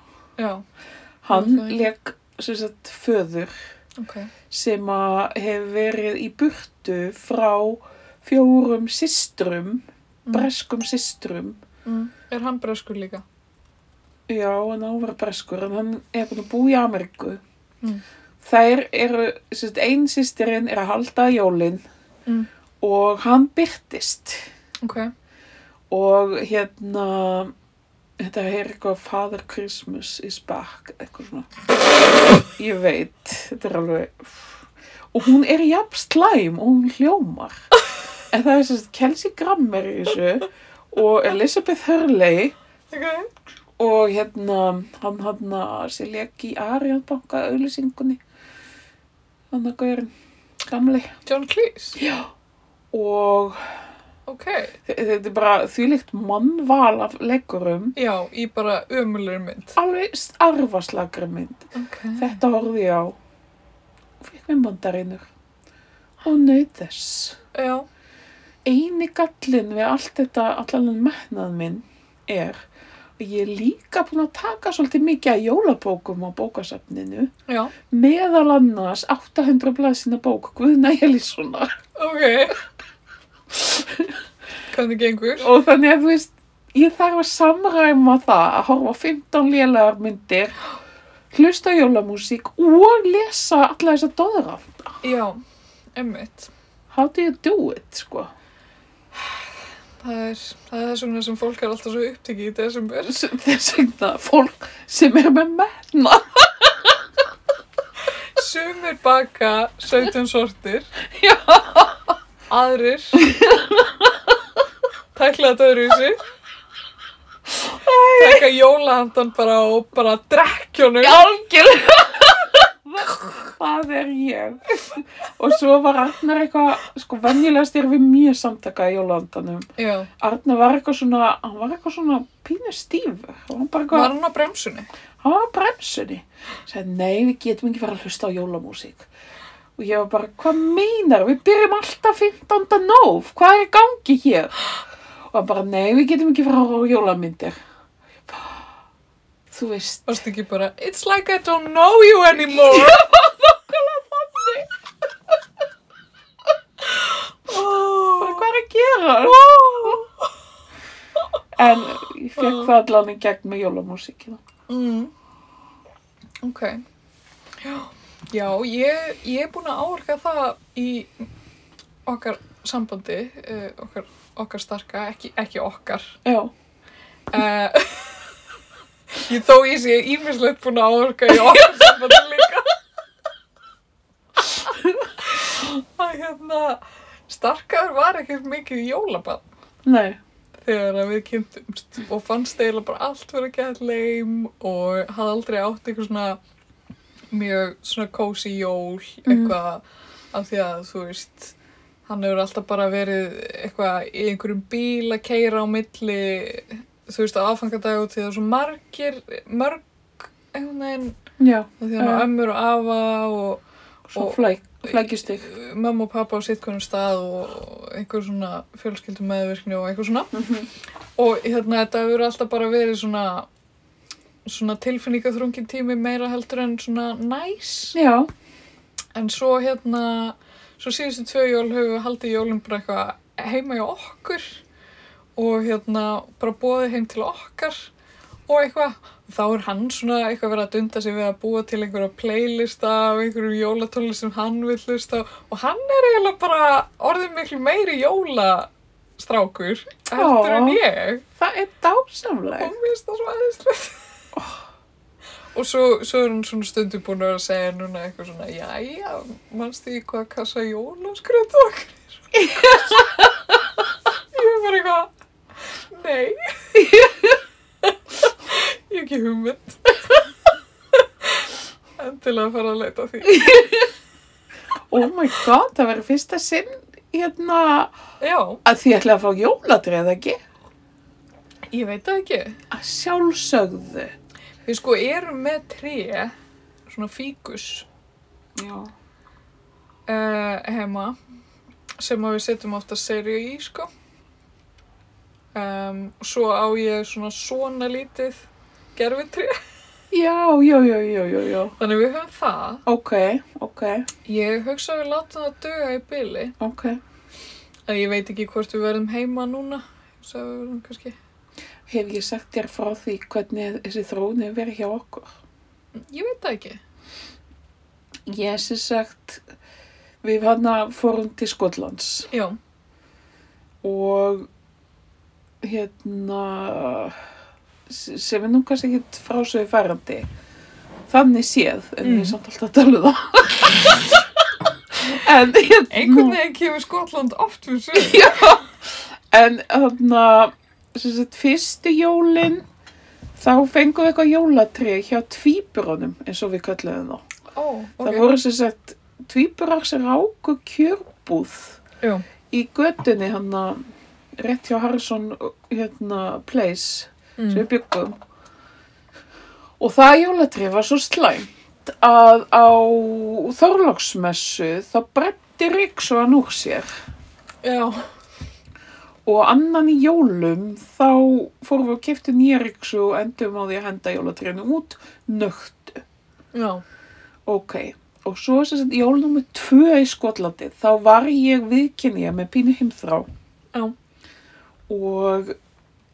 Speaker 1: Já,
Speaker 2: hann
Speaker 1: Ok.
Speaker 2: leik svo sett föður
Speaker 1: ok.
Speaker 2: sem að hefur verið í burtu frá fjórum systrum,
Speaker 1: Mm.
Speaker 2: breskum systrum,
Speaker 1: Mm. Er hann breskur líka?
Speaker 2: Já, hann á að vera breskur en hann er búin að búa í Ameríku.
Speaker 1: Mm.
Speaker 2: Þær eru, sérst, ein sýstirinn er að halda jólin
Speaker 1: Mm.
Speaker 2: og hann byrtist
Speaker 1: Ok.
Speaker 2: og hérna, þetta er eitthvað Father Christmas is back, eitthvað svona. Ég veit, þetta er alveg, og hún er jafn slæm og hún hljómar. En það er sérst Kelsey Grammer í þessu og Elizabeth Hurley
Speaker 1: Ok.
Speaker 2: og hérna hann hann sér leki í Ariðanbanka auðlýsingunni hann að gaurin gamli
Speaker 1: John Cleese.
Speaker 2: og
Speaker 1: Ok.
Speaker 2: þe- þetta er bara þvílíkt mannval af leikurum
Speaker 1: Já, í bara ömulegur mynd.
Speaker 2: alveg arfaslagri mynd
Speaker 1: Ok.
Speaker 2: þetta horfði ég á og fekk mér mandarinnur og naut þess
Speaker 1: Já.
Speaker 2: eini gallin við allt þetta allan metnað minn er ég er líka búin að taka svolítið mikið af jólabókum á bókasafninu.
Speaker 1: Já,
Speaker 2: Meðal annars 800 blaðsina bók Guðna Elíssonar.
Speaker 1: ok.
Speaker 2: [LAUGHS]
Speaker 1: Hvernig gengur?
Speaker 2: Og þannig að þú veist, ég þarf að samræma það að horfa á 15 lélegar myndir, hlusta á jólamúsík og lesa alla þessa dóðranda.
Speaker 1: Já, emmitt.
Speaker 2: How do you do it, sko?
Speaker 1: Það er, það er svona sem fólk er alltaf svo upptikið í desember.
Speaker 2: S- Þess vegna fólk sem er með metna.
Speaker 1: Sumir baka 17 sortir.
Speaker 2: Já.
Speaker 1: Aðrir. Tækla þetta öðru í sig. Tekka jólahandan bara og bara drekkjónum.
Speaker 2: Algjörlega. [LAUGHS] Það er ég. Og svo var Arnar eitthvað, sko, venjulegast erum við mjög samtaka í Jólandanum.
Speaker 1: Já.
Speaker 2: Arnar var eitthvað svona, hann var eitthvað svona pínu stífur. Hann var
Speaker 1: Var
Speaker 2: bara eitthvað,
Speaker 1: hann á bremsunni?
Speaker 2: hann var á bremsunni. Sæði, nei, við getum ekki verið að hlusta á jólamúsík. Og ég var bara, hvað meinar? Við byrjum alltaf 15. nóf. Hvað er í gangi hér? Og hann bara, nei, við getum ekki verið að horfa á jólamyndir. Ég bara, Þú veist,
Speaker 1: Varstu ekki bara, it's like I don't know you anymore.
Speaker 2: bara,
Speaker 1: oh,
Speaker 2: hvað er að gera? En ég fekk það allan í gegn með jólamúsíkina.
Speaker 1: mm. Ok. Já, ég, ég er búin að áorka það í okkar sambandi, uh, okkar, okkar starka, ekki, ekki okkar.
Speaker 2: Já,
Speaker 1: Uh, ég [LAUGHS] þó ég sé ímislegt búin að áorka í okkar sambandi líka. [LAUGHS] Það hérna, starkaður var ekkert mikið jólabann.
Speaker 2: nei,
Speaker 1: þegar að við kynntumst og fannst eiginlega bara allt vera gett leim og hafði aldrei átt eitthvað svona mjög svona kósi jól eitthvað af því að þú veist hann hefur alltaf bara verið eitthvað í einhverjum bíl að keira á milli þú veist á aðfangadag og til það er svo margir mörg einhvern veginn
Speaker 2: já,
Speaker 1: af því að hann á
Speaker 2: Já.
Speaker 1: ömmur og afa og
Speaker 2: svo
Speaker 1: Og-
Speaker 2: flæk, flækist ykkur.
Speaker 1: mamma og pappa á sitt konum stað og einhver svona fjölskyldum meðvirkni og eitthvað svona og hérna þetta hefur alltaf bara verið svona svona tilfinningaþrungin tími meira heldur en svona næs
Speaker 2: Já,
Speaker 1: en svo hérna svo síðustu tvö jól höfum við haldið jólum bara eitthvað heima hjá okkur og hérna bara bóðið heim til okkar og eitthvað þá er hann svona eitthvað verið að dunda sig við að búa til einhverja playlista af einhverjum jólatónlist sem hann vil hlusta á. og hann er eiginlega bara orðið miklu meiri jólastrákur heldur en
Speaker 2: Já.
Speaker 1: ég
Speaker 2: það er dásamleg.
Speaker 1: og minnst það svo aðeinslegt og svo, svo er hann svona stundum búin að vera að segja núna eitthvað svona jæja, mannstu í hvað kassa jólaskrönd okkar er?" ég er bara eitthvað nei ég hef ekki hugmynd en til að fara að leita að því
Speaker 2: Oh my god, það verður fyrsta sinn hérna
Speaker 1: já,
Speaker 2: að því ætla að fá jóladrið ekki.
Speaker 1: ég veit það ekki
Speaker 2: Að sjálfsögðu.
Speaker 1: við sko erum með tré svona fíkus
Speaker 2: Já.
Speaker 1: uh, heima sem að við setjum ofta serju í sko um, svo á ég svona svona lítið gerfitri
Speaker 2: Já, já, já, já, já, já.
Speaker 1: [LAUGHS] þannig við höfum það
Speaker 2: Ok, ok,
Speaker 1: ég hugsa að við látum það döga í byli
Speaker 2: ok.
Speaker 1: að ég veit ekki hvort við verðum heima núna svo við verðum kannski
Speaker 2: Hef ég sagt þér frá því hvernig þessi þróun hefur verið hjá okkur?
Speaker 1: ég veit það ekki
Speaker 2: Ég sem sagt, við hann fórum til Skotlands.
Speaker 1: já,
Speaker 2: og hérna s- sem er nú kannski ekki frásöðu færandi þannig séð en
Speaker 1: Mm.
Speaker 2: ég er samt alltaf að tala um það [LAUGHS] en hérna
Speaker 1: einhvern veginn kemur Skotland oft fyrir sögur
Speaker 2: [LAUGHS] já, en hérna sem sagt fyrstu jólin þá fengum við eitthvað jólatré hjá tvíburunum eins og við köllum þá
Speaker 1: ó,
Speaker 2: það
Speaker 1: ok,
Speaker 2: voru sem sagt tvíburar sem ráku kjörbúð
Speaker 1: já,
Speaker 2: í götunni hann rétt hjá Harrison hérna, place sem
Speaker 1: mm.
Speaker 2: við byggum og það jólatrið var svo slæmt að á Þorlóksmessu þá bretti Ríksson úr sér
Speaker 1: já,
Speaker 2: og annan í jólum þá fórum við að keftu nýja riksu og endum á því að henda jólatrénu út nögt.
Speaker 1: Já.
Speaker 2: Ok, og svo sem sagt jól nummer tvö í Skotlandi þá var ég viðkynja með pínu heimþrá
Speaker 1: Já.
Speaker 2: og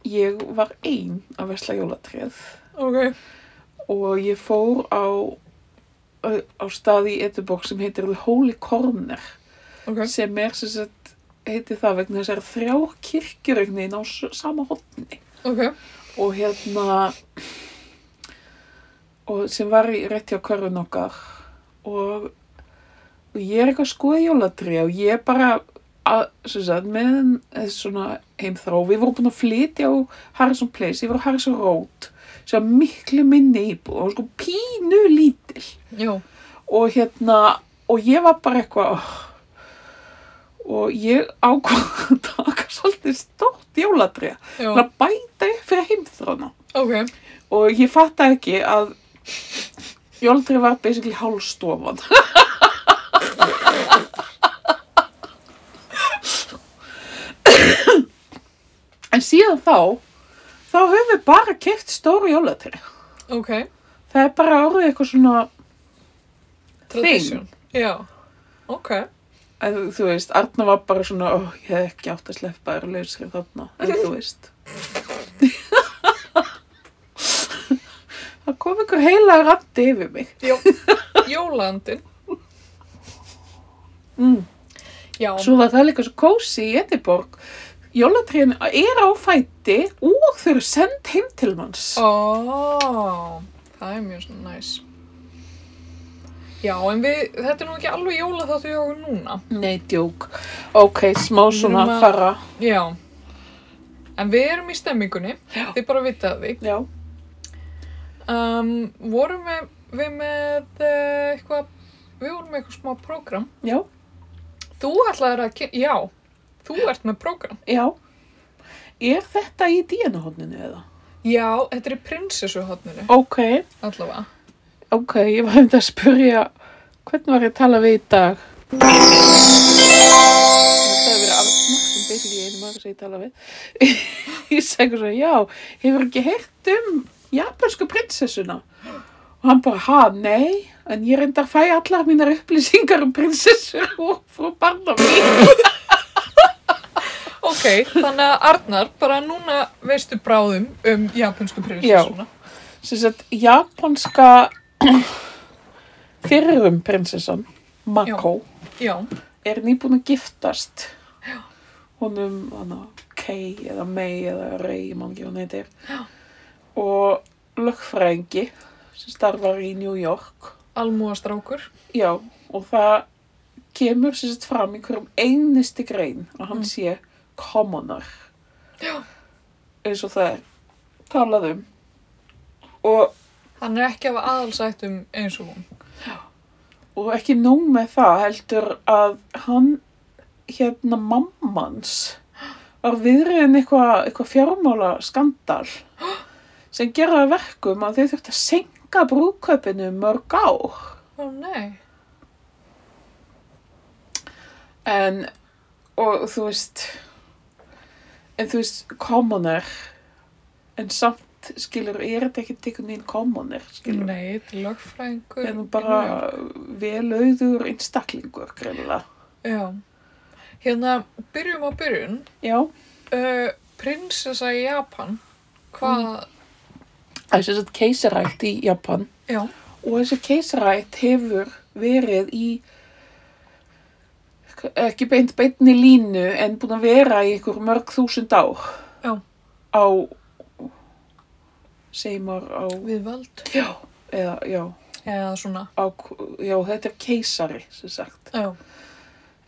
Speaker 2: ég var ein að vesla jólatréð
Speaker 1: Ok.
Speaker 2: og ég fór á, á stað í Edinborg sem heitir The Holy Corner
Speaker 1: Ok.
Speaker 2: sem er sem sagt heiti það vegna þess að það eru þrjár kirkjur einhvern veginn á s- sama hotni
Speaker 1: Ok.
Speaker 2: og hérna og sem var í rétt hjá körfun okkar og, og ég er eitthvað að skoða jólatrí og ég bara að, sem sagt, með eh, svona heimþró, við vorum búin að flytja á Harrison Place, ég var á Harrison Road sem var miklu minni íbúð og sko pínu lítil
Speaker 1: Já.
Speaker 2: og hérna og ég var bara eitthvað "Oh." og ég ákvað [LAUGHS] að taka svolítið stórt jólatrí
Speaker 1: Já.
Speaker 2: til að bæta upp fyrir heimþróna
Speaker 1: Ok.
Speaker 2: og ég fatta ekki að jólatri var basically hálstofan en síðan þá þá höfum við bara keft stóru jólatri
Speaker 1: Ok.
Speaker 2: það er bara orðið eitthvað svona
Speaker 1: Tradition. Já. Ok.
Speaker 2: að, eh, þú- þú veist, Arna var bara svona ó, ég hef ekki átt að sleppa þér lausri þarna en þú veist það kom einhver heila randi yfir mig
Speaker 1: [LAUGHS] Jó. Jólandin.
Speaker 2: mm.
Speaker 1: Já.
Speaker 2: Svo var það líka svo kósi í Ediborg. Jólatríðin er á fæti og þau eru send heim til manns.
Speaker 1: Ó, það er mjög svona næs. Já, en við, þetta er nú ekki alveg jóla þáttu hjá okkur núna.
Speaker 2: Nei, djók. Ok, smá svona
Speaker 1: erum að-
Speaker 2: fara.
Speaker 1: Já. En við erum í stemmingunni,
Speaker 2: Já.
Speaker 1: þið bara vitað því.
Speaker 2: Já.
Speaker 1: Um, vorum við, við með uh, eitthvað, við vorum með eitthvað smá prógram.
Speaker 2: Já,
Speaker 1: Þú ætlaðir að, kyn- já, þú ert með prógram.
Speaker 2: já. Er þetta í díanahotninu eða?
Speaker 1: Já, þetta er í prinsessuhotninu,
Speaker 2: Ok,
Speaker 1: allavega.
Speaker 2: ok, ég var hefndi að spurja hvernig var ég að tala við í dag? Þetta hefur verið Arnar sem byrja í einu maður sem ég tala við. [LAUGHS] ég segi svo, já, hefur ekki heyrt um japansku prinsessuna? Og hann bara, ha, nei, en ég reyndar að fæ allar mínar upplýsingar um prinsessur [LAUGHS] og frú Barnaby.
Speaker 1: Ok, þannig að Arnar, bara núna veistu bráðum um japansku prinsessuna.
Speaker 2: Sem sagt, japanska [CLEARS THROAT] fyrrum prinsessan, Mako.
Speaker 1: Já.
Speaker 2: er nýbúin að giftast honum hana, Kay eða May eða Ray, ég man ekki hvað hún heitir og lögfræðingi sem starfar í New York
Speaker 1: almúastrákur.
Speaker 2: já, og það kemur sem sett fram í hverjum einustu grein að hann sé commoner
Speaker 1: Já.
Speaker 2: eins og það er talað um og
Speaker 1: Hann er ekki af aðalsættum eins og hún.
Speaker 2: Og ekki nóg með það heldur að hann, hérna mammans, var viðriðin eitthvað eitthva fjármála skandal sem gera að verkum að þau þurftu að senka brúköpinu mörg ár.
Speaker 1: Ó nei.
Speaker 2: En, og þú veist, en þú veist, commoner, en samt, skilur, er þetta ekki tekun einn commoner, skilur?
Speaker 1: Nei, þetta er lögfræðingur.
Speaker 2: En Hérna bara vel auður einstaklingur, greinlega.
Speaker 1: Já. Hérna, byrjum á byrjun.
Speaker 2: Já.
Speaker 1: Uh, prinsessa í Japan. Hvað?
Speaker 2: Mm. Það er sem sagt keisarætt í Japan
Speaker 1: Já.
Speaker 2: og þessi keisarætt hefur verið í ekki beint beinni línu en búin að vera í einhver mörg þúsund ár
Speaker 1: Já.
Speaker 2: á segjum ár á
Speaker 1: Við völd.
Speaker 2: já, eða, já,
Speaker 1: Eða svona.
Speaker 2: á, já, þetta er keisari sem sagt,
Speaker 1: Já.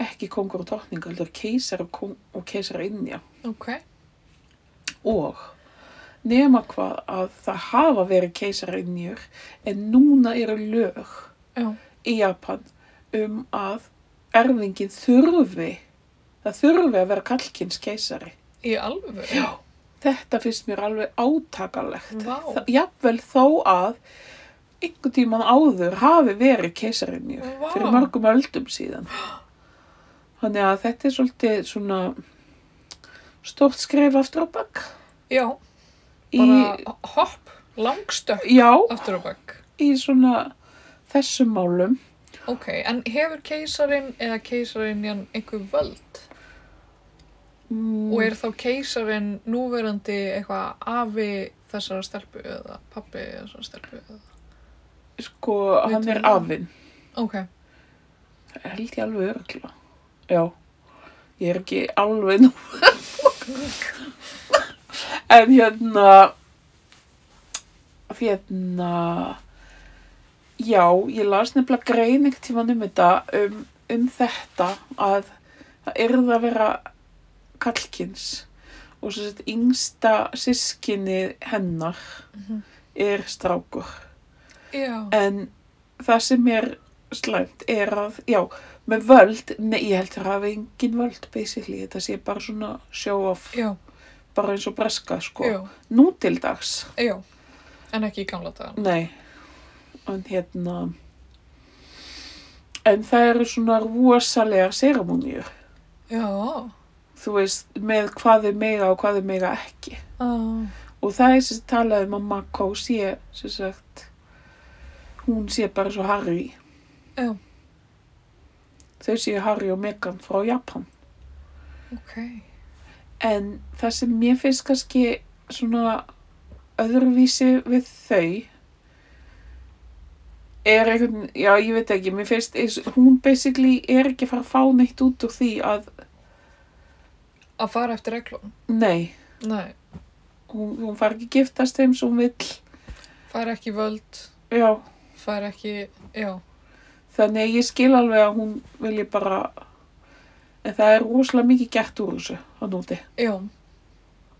Speaker 2: ekki kongur og drottning heldur keisari og, kong- og keisari innja
Speaker 1: Ok.
Speaker 2: og nema hvað að það hafa verið keisarinjur en núna eru lög
Speaker 1: Já.
Speaker 2: í Japan um að erfingin þurfi það þurfi að vera kallkins keisari
Speaker 1: Í alvöru.
Speaker 2: Já. þetta finnst mér alveg átakalegt
Speaker 1: Vá.
Speaker 2: það, jafnvel þó að einhvern tíman áður hafi verið keisarinjur
Speaker 1: Vá.
Speaker 2: fyrir mörgum öldum síðan þannig að þetta er svolítið svona stórt skref aftur á bakk.
Speaker 1: Já,
Speaker 2: Í,
Speaker 1: bara hopp, langstökk
Speaker 2: já,
Speaker 1: aftur á bakk.
Speaker 2: í svona þessum málum.
Speaker 1: Ok, en hefur keisarin eða keisarinjan einhver völd?
Speaker 2: Mm,
Speaker 1: Og er þá keisarin núverandi eitthvað afi þessara stelpu eða pappi þessara stelpu? Eða?
Speaker 2: Sko, hann
Speaker 1: Veitum
Speaker 2: er
Speaker 1: við það?
Speaker 2: afinn.
Speaker 1: Ok,
Speaker 2: Held ég alveg örgla. Já, ég er ekki alveg nú. en hérna, hérna, já, ég las nefnilega grein ekkert tíman um þetta, um, um þetta að það yrði að vera kallkins og svo sett yngsta sískinni hennar
Speaker 1: Mhm.
Speaker 2: er strákur.
Speaker 1: já,
Speaker 2: En það sem er slæmt er að, já, með völd, nei, ég heldur að hafa engin völd, basically, þetta sé bara svona show off,
Speaker 1: já,
Speaker 2: bara eins og breska, sko.
Speaker 1: já,
Speaker 2: Nú til dags,
Speaker 1: já, en ekki í gamla dagan.
Speaker 2: nei, en hérna, en það eru svona rosalega séramónjur,
Speaker 1: Já,
Speaker 2: þú veist, með hvað er mega og hvað er mega ekki.
Speaker 1: ah,
Speaker 2: Og það er sem sagt talað um að Makko sé, sem sagt, hún sé bara svo Harry.
Speaker 1: Já.
Speaker 2: Þau séu Harry og Meghan frá Japan.
Speaker 1: ok,
Speaker 2: En það sem mér finnst kannski svona öðruvísi við þau er einhvern, já ég veit ekki, mér finnst eins- hún basically er ekki að fara að fá neitt út úr því að,
Speaker 1: að fara eftir reglum.
Speaker 2: nei,
Speaker 1: Nei,
Speaker 2: hún, hún fara ekki að giftast þeim sem hún vill,
Speaker 1: fara ekki í völd,
Speaker 2: já,
Speaker 1: fara ekki, já,
Speaker 2: Þannig að ég skil alveg að hún vilji bara, en það er rosalega mikið gert úr þessu hann úti.
Speaker 1: já,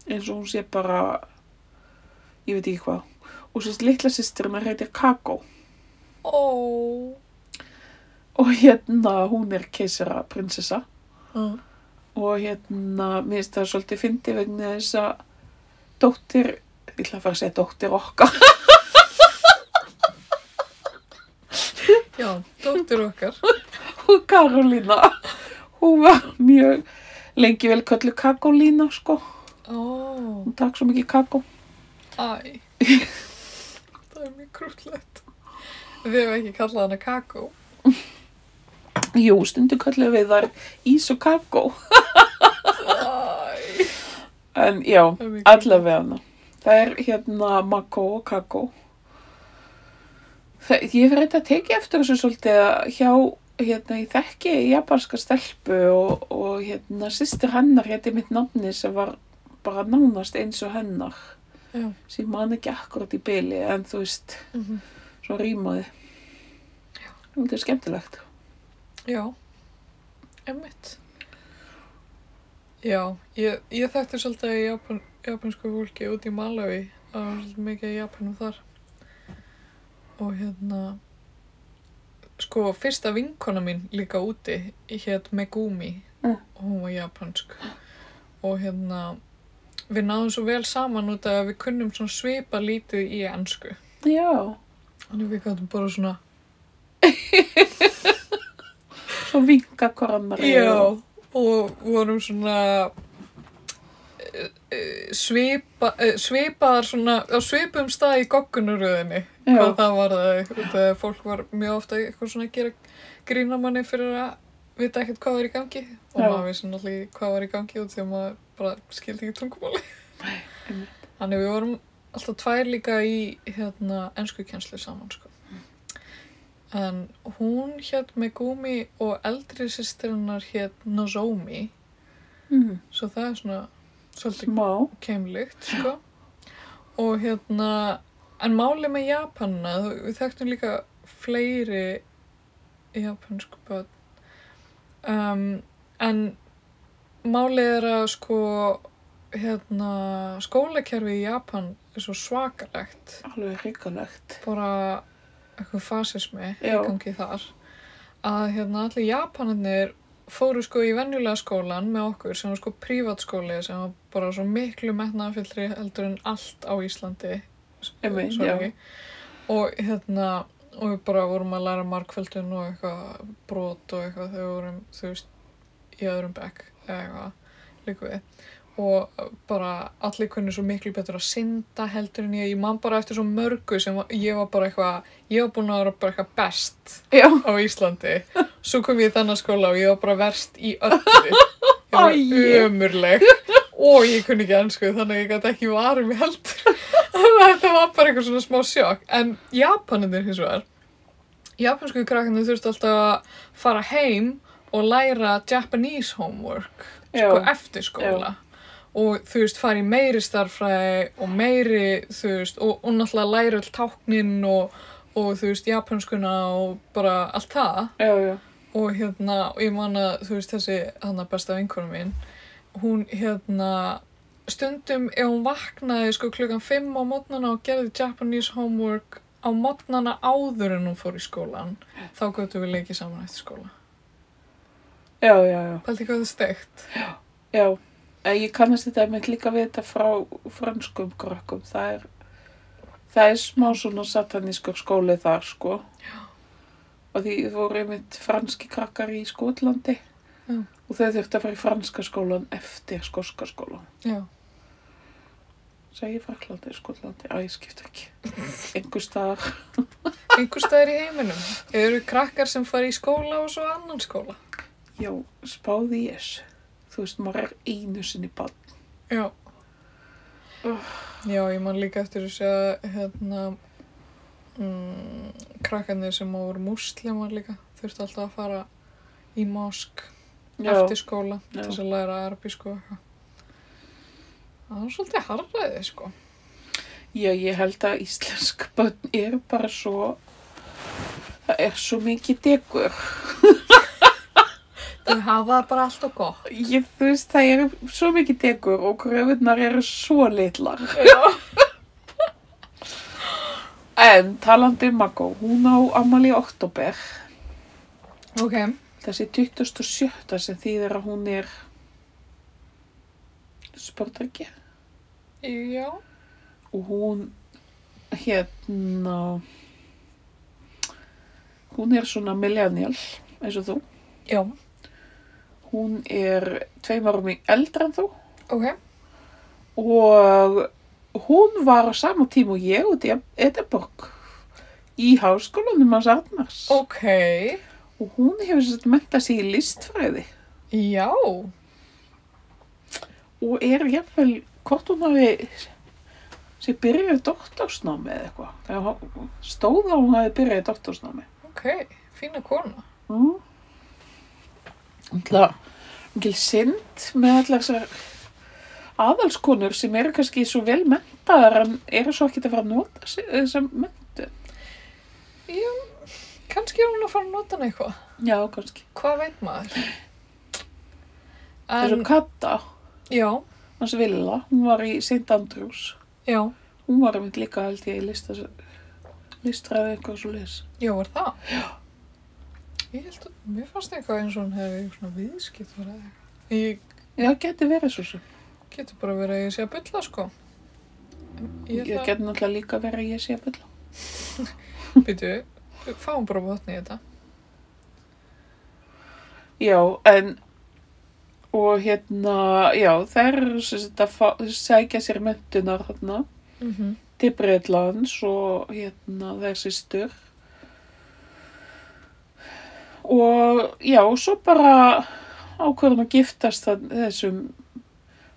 Speaker 2: Eins og hún sé bara, ég veit ekki hvað. Og sérst litla sýstir hennar heitir Kakó.
Speaker 1: ó,
Speaker 2: Og hérna, hún er keisara prinsessa.
Speaker 1: uh,
Speaker 2: Og hérna, mér finnst það svolítið fyndi vegna þess að dóttir, ég ætla að fara að segja dóttir okkar. [LAUGHS]
Speaker 1: já, dóttir okkar,
Speaker 2: Og Karolína, hún var mjög lengi vel köllu Kakólína, sko.
Speaker 1: ó,
Speaker 2: Hún takk svo mikið Kakó.
Speaker 1: æ, [LAUGHS] það er mjög krúllett. Við hefum ekki kallað hana kakó.
Speaker 2: Jú, stundu kallum við þar ís og kakó.
Speaker 1: Æ,
Speaker 2: En já,
Speaker 1: það er mjög krúllett.
Speaker 2: allavega hana. Það er hérna makkó og kakó. Það, ég fyrir þetta að teki eftir þessu svolítið að hjá, hérna, ég þekki japanska stelpu og, og hérna, sýstir hennar hétti mitt nafni sem var bara nánast eins og hennar.
Speaker 1: Já.
Speaker 2: Sem ég man ekki akkurat í byli, en þú veist,
Speaker 1: Mhm.
Speaker 2: svo rýmaði. Þetta er skemmtilegt.
Speaker 1: Já, emmitt. Já, ég, ég þekkti svolítið í Japan, japansku fólki út í Malawi. Það var svolítið mikið í Japanum þar. Og hérna, sko, fyrsta vinkona mín líka úti hétt Megumi
Speaker 2: Mm.
Speaker 1: og hún var japansk. Og hérna, við náðum svo vel saman út af að við kunnum svona svipa lítið í ennsku.
Speaker 2: Já,
Speaker 1: Þannig við gætum bara svona
Speaker 2: svo vinka hvar annar.
Speaker 1: Já, og vorum svona eh, eh, svipa, eh, svipaðar svona á svipum stað í goggunuröðinni hvað það var það, það fólk var mjög ofta eitthvað svona að gera grína manni fyrir að vita ekkert hvað var í gangi og
Speaker 2: Já.
Speaker 1: maður vissi náttúrulega ekki hvað var í gangi og því að maður bara skildi ekki tungumáli
Speaker 2: einmitt.
Speaker 1: þannig við vorum alltaf tvær líka í hérna enskukjenslu saman sko en hún hétt Megumi og eldri sýstirinnar hétt Nozomi
Speaker 2: Mm,
Speaker 1: svo það er svona svolítið
Speaker 2: smá.
Speaker 1: keimlugt, sko. Og hérna, en málið með Japana, þú- við þekktum líka fleiri japansk börn. Um, en málið er að sko, hérna, skólakerfið í Japan er svo svakalegt.
Speaker 2: Alveg hrikalegt.
Speaker 1: Bara eitthvað fasismi í
Speaker 2: Já.
Speaker 1: gangi þar. Að hérna, allir Japanarnir fóru sko í venjulega skólan með okkur sem var sko prívatskóli sem var bara svo miklu metnaðfyllri heldur en allt á Íslandi
Speaker 2: Einmitt,
Speaker 1: sorry. og hérna og við bara vorum að læra markföldun og eitthvað brot og eitthvað þegar við vorum þú veist í öðrum bekk eða eitthvað líka við og bara allir kunni svo miklu betur að synda heldur en ég, ég man bara eftir svo mörgu sem var- ég var bara eitthvað, ég var búin að vera bara eitthvað best
Speaker 2: Já,
Speaker 1: á Íslandi, svo kom ég í þennan skóla og ég var bara verst í öllu, ég var
Speaker 2: Æi.
Speaker 1: ömurleg og ég kunni ekki ennsku þannig að ég gæti ekki varum í heldur, [LAUGHS] þannig að þetta var bara eitthvað svona smá sjokk, en Japanindir hins vegar, japansku krakkarnir þurftu alltaf að fara heim og læra Japanese homework
Speaker 2: já,
Speaker 1: sko, eftir skóla og þú veist, fara í meiri starffræði og meiri, þú veist, og, og náttúrulega læra all táknin og, og þú veist, japanskuna og bara allt það
Speaker 2: já, já.
Speaker 1: og hérna, og ég man að, þú veist, þessi hann besta vinkunum mín, hún hérna, stundum ef hún vaknaði sko klukkan 5 á mótnana og gerði Japanese homework á mótnana áður en hún fór í skólan, þá gotum við leikið saman eftir skóla.
Speaker 2: Já, já, já.
Speaker 1: Pælti hvað það steikt?
Speaker 2: Já, en ég kannast þetta einmitt líka við þetta frá franskum krökkum. Það er, það er smá svona satanískur skóli þar, sko. Já. Og því voru einmitt franski krakkar í Skotlandi.
Speaker 1: Já.
Speaker 2: Og þau þurftu að fara í franska skólan eftir skoska skólan.
Speaker 1: Já.
Speaker 2: Segji Fraklandi, Skotlandi, að ég skipta [LAUGHS] ekki. Einhver staðar.
Speaker 1: einhver staðar í heiminum. Eru krakkar sem fara í skóla og svo annan skóla.
Speaker 2: Já, spáði ég þessu. Þú veist, maður er einu sinni bann.
Speaker 1: Já.
Speaker 2: Úff.
Speaker 1: Já, ég man líka eftir þessu að hérna, mm, krakkarnir sem voru múslimar líka þurfti alltaf að fara í mosk eftir skóla
Speaker 2: Já.
Speaker 1: til þess að læra arabísku og eitthvað. Það var svolítið harðræðið, sko.
Speaker 2: Já, ég held að íslensk börn er bara svo, það er svo mikið degur.
Speaker 1: Þau hafa það bara alltaf gott.
Speaker 2: Ég, þú veist, það er svo mikið degur og kröfunar eru svo litlar.
Speaker 1: Já.
Speaker 2: [LAUGHS] En talandi um Maggo, hún á ammali í oktober,
Speaker 1: Ok,
Speaker 2: þessi 27. sem þýðir að hún er spördryggja
Speaker 1: já.
Speaker 2: og hún, hérna, hún er svona millennial eins og þú.
Speaker 1: Já,
Speaker 2: Hún er tveim árum í eldra en þú
Speaker 1: ok.
Speaker 2: og hún var á sama tíma og ég út í Edinborg í háskólanum hans Arnars
Speaker 1: Ok,
Speaker 2: og hún hefur sett mentað sig í listfræði
Speaker 1: já.
Speaker 2: og er jafnvel hvort hún hafi sem byrjaði doktorsnámi eða eitthvað Eða hún- stóð að hún hafi byrjaði doktorsnámi
Speaker 1: Ok, fína kona.
Speaker 2: mm. Alla, ekki synd með allar þessar aðalskonur sem eru kannski svo vel mentaðar en eru svo ekkert að fara að nota sig- eh, þessa mentu.
Speaker 1: Já, kannski er hún að fara að nota hann eitthvað.
Speaker 2: Já, kannski.
Speaker 1: Hvað veit maður?
Speaker 2: En...
Speaker 1: En,
Speaker 2: Þessu Katta,
Speaker 1: já,
Speaker 2: hans Villa, hún var í St. Andrews.
Speaker 1: já,
Speaker 2: Hún var einmitt líka held ég í lista, listræði eitthvað svo lis.
Speaker 1: já, var það? Ég held að, mér fannst eitthvað eins og hún hefði eitthvað svona viðskipt verið eða eitthvað. Ég
Speaker 2: Já, geti verið svo sem.
Speaker 1: getur bara verið að ég sé að bylla, sko. En Ég
Speaker 2: Ég
Speaker 1: held
Speaker 2: geti náttúrulega líka verið að ég sé að bylla.
Speaker 1: að, býtu, fáum bara botni í þetta.
Speaker 2: Já, en, og hérna, já, þær eru sem sagt að fá- sækja sér mentunar þarna
Speaker 1: Mm -hmm.
Speaker 2: til Breitlands og hérna þær systur. Og já, svo bara ákvörðum að giftast þann- þessum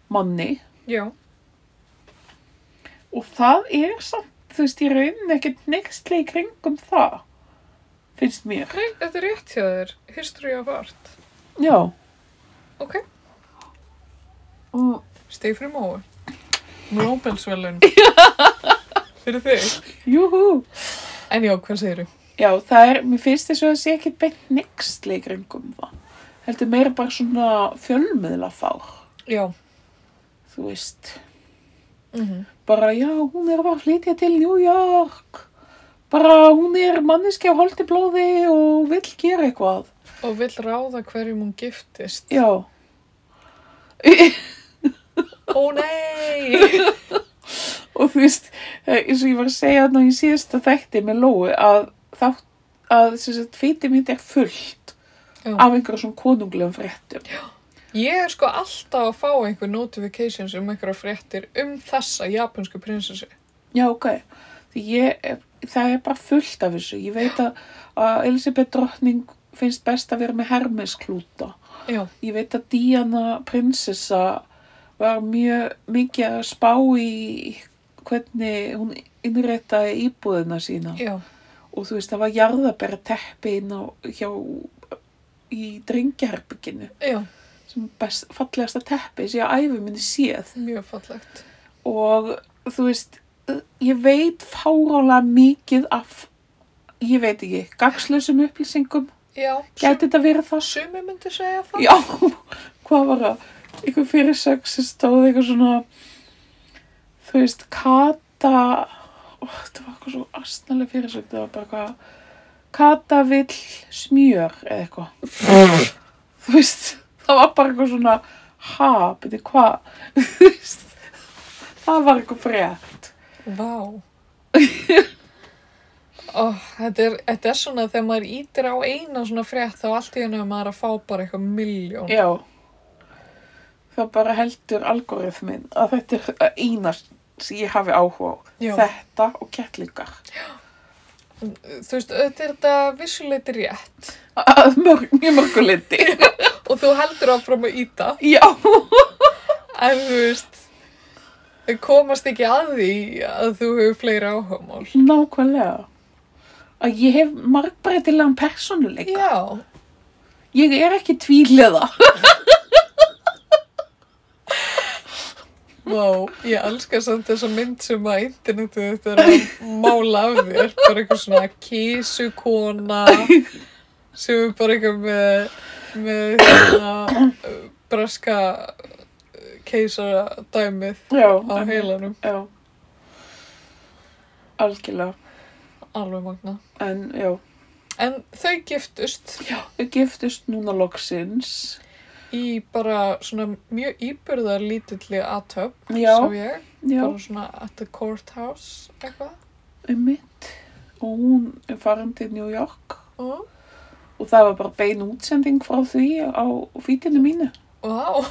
Speaker 2: manni.
Speaker 1: Já,
Speaker 2: Og það er samt, þú veist, í rauninni ekkert nextli í kringum það, finnst mér.
Speaker 1: Nei, þetta er rétt hjá þér, history of art.
Speaker 2: Já.
Speaker 1: Ok,
Speaker 2: Og,
Speaker 1: steg fyrir mói. Nobelsvelun. fyrir þig.
Speaker 2: júhú.
Speaker 1: En já, hvað segirðu?
Speaker 2: Já, það er, mér finnst þess að það sé ekkert beint nextli í kringum það. Heldur meira bara svona fjölmiðlafár,
Speaker 1: Já.
Speaker 2: þú veist.
Speaker 1: Mm
Speaker 2: Bara, já, hún er að fara að flytja til New York. Bara, hún er manneski á holdi blóði og vill gera eitthvað.
Speaker 1: Og vill ráða hverjum hún giftist.
Speaker 2: Já.
Speaker 1: Ó nei! [LAUGHS]
Speaker 2: og þú veist, eh, eins og ég var að segja þarna í síðasta þætti með Lóu að þátt að sem sagt, fítið mitt er fullt
Speaker 1: Já.
Speaker 2: af einhverjum svona konunglegum fréttum. Já.
Speaker 1: Ég er sko alltaf að fá einhver notifications um einhverja fréttir um þessa japansku prinsessu.
Speaker 2: Já, ok. Því ég, er- það er bara fullt af þessu. Ég veit að, að Elisabeth drottning finnst best að vera með Hermes klúta.
Speaker 1: Já,
Speaker 2: Ég veit að Diana prinsessa var mjög mikið að spá í hvernig hún innréttaði íbúðina sína.
Speaker 1: já,
Speaker 2: Og þú veist, það var jarðabera teppi inn á, hjá, í drengjaherbygginu
Speaker 1: já,
Speaker 2: sem best, fallegasta teppi sem ég á æfi minni séð
Speaker 1: mjög fallegt.
Speaker 2: og þú veist ég veit fárálega mikið af ég veit ekki, gagslausum upplýsingum
Speaker 1: Já,
Speaker 2: gæti þetta verið það?
Speaker 1: sumi myndi segja það.
Speaker 2: Já, hvað var það? einhver fyrirsögn sem stóð eitthvað svona þú veist, Kata ó, þetta var eitthvað svo astnalega fyrirsögn það var bara eitthvað Kata vill smjör eða eitthvað þú veist, það var bara eitthvað svona ha, beti hvað Þú veist, það var eitthvað frétt
Speaker 1: Vá. Ó, þetta, er, þetta er svona þegar maður ítir á eina svona frétt þá allt í hennu maður að fá bara eitthvað miljón.
Speaker 2: Já, það bara heldur algoritmin að þetta er eina sem ég hafi áhuga á.
Speaker 1: Já.
Speaker 2: Þetta og kettlingar.
Speaker 1: Þú veist, auðvitað er þetta vissuleiti rétt
Speaker 2: Að mörg, mjög
Speaker 1: [LAUGHS]
Speaker 2: mörguliti.
Speaker 1: og þú heldur áfram að íta
Speaker 2: Já,
Speaker 1: en þú veist, þau komast ekki að því að þú hefur fleiri áhugamál.
Speaker 2: nákvæmlega. Að ég hef margbreytilegan persónuleika.
Speaker 1: Já,
Speaker 2: Ég er ekki tvíliða.
Speaker 1: Vá, ég elska samt þessa mynd sem að internetu þetta er að mála af þér, bara eitthvað svona kísukona sem er bara eitthvað með, með hérna, uh, breska keisara dæmið
Speaker 2: Já,
Speaker 1: á heilanum,
Speaker 2: Já, algjörlega.
Speaker 1: alveg magna.
Speaker 2: En já,
Speaker 1: En þau giftust
Speaker 2: ég giftist núna loksins.
Speaker 1: í bara svona mjög íbyrðar lítilli aðtöp,
Speaker 2: Já.
Speaker 1: svo ég,
Speaker 2: Já.
Speaker 1: bara svona at the courthouse eitthvað.
Speaker 2: um mitt og hún er farin til New York
Speaker 1: Mm.
Speaker 2: og það var bara bein útsending frá því á fítinu mínu.
Speaker 1: Vá.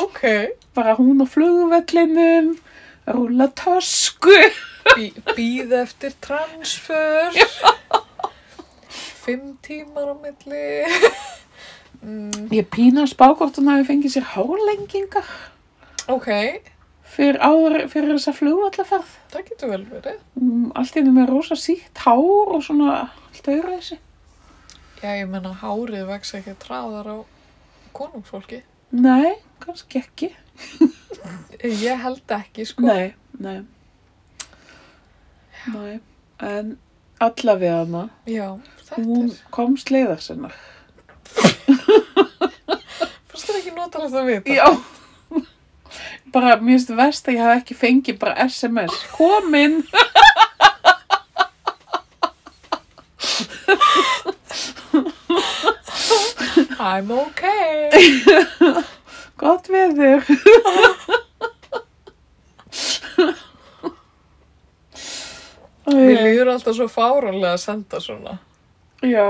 Speaker 1: ok,
Speaker 2: Bara hún á flugvellinum, rúla tösku.
Speaker 1: Bí, býð eftir transfer, fimm tímar á milli. mm,
Speaker 2: Ég pína að spá hvort hún hafi fengið sér hárlengingar
Speaker 1: ok,
Speaker 2: fyrir, áður, fyrir þessa flugvallaferð.
Speaker 1: það getur vel verið.
Speaker 2: Mm, Allt í henni með rosa sítt hár og svona allt öðru þessi.
Speaker 1: Já, ég menna hárið vex ekki traðar á konungsfólki.
Speaker 2: Nei, kannski ekki.
Speaker 1: Ég held ekki, sko.
Speaker 2: Nei, nei. Nei, en allavega hana,
Speaker 1: Já, þetta
Speaker 2: hún
Speaker 1: er,
Speaker 2: komst leiðar sinnar.
Speaker 1: fyrst er ekki notalegt að vita.
Speaker 2: Já. [LAUGHS] Bara, mér finnst verst að ég hef ekki fengið bara SMS. Komin!
Speaker 1: I'm ok.
Speaker 2: Gott [LAUGHS] veður!
Speaker 1: Mér
Speaker 2: Æ,
Speaker 1: líður alltaf svo fáranlega að senda svona.
Speaker 2: Já,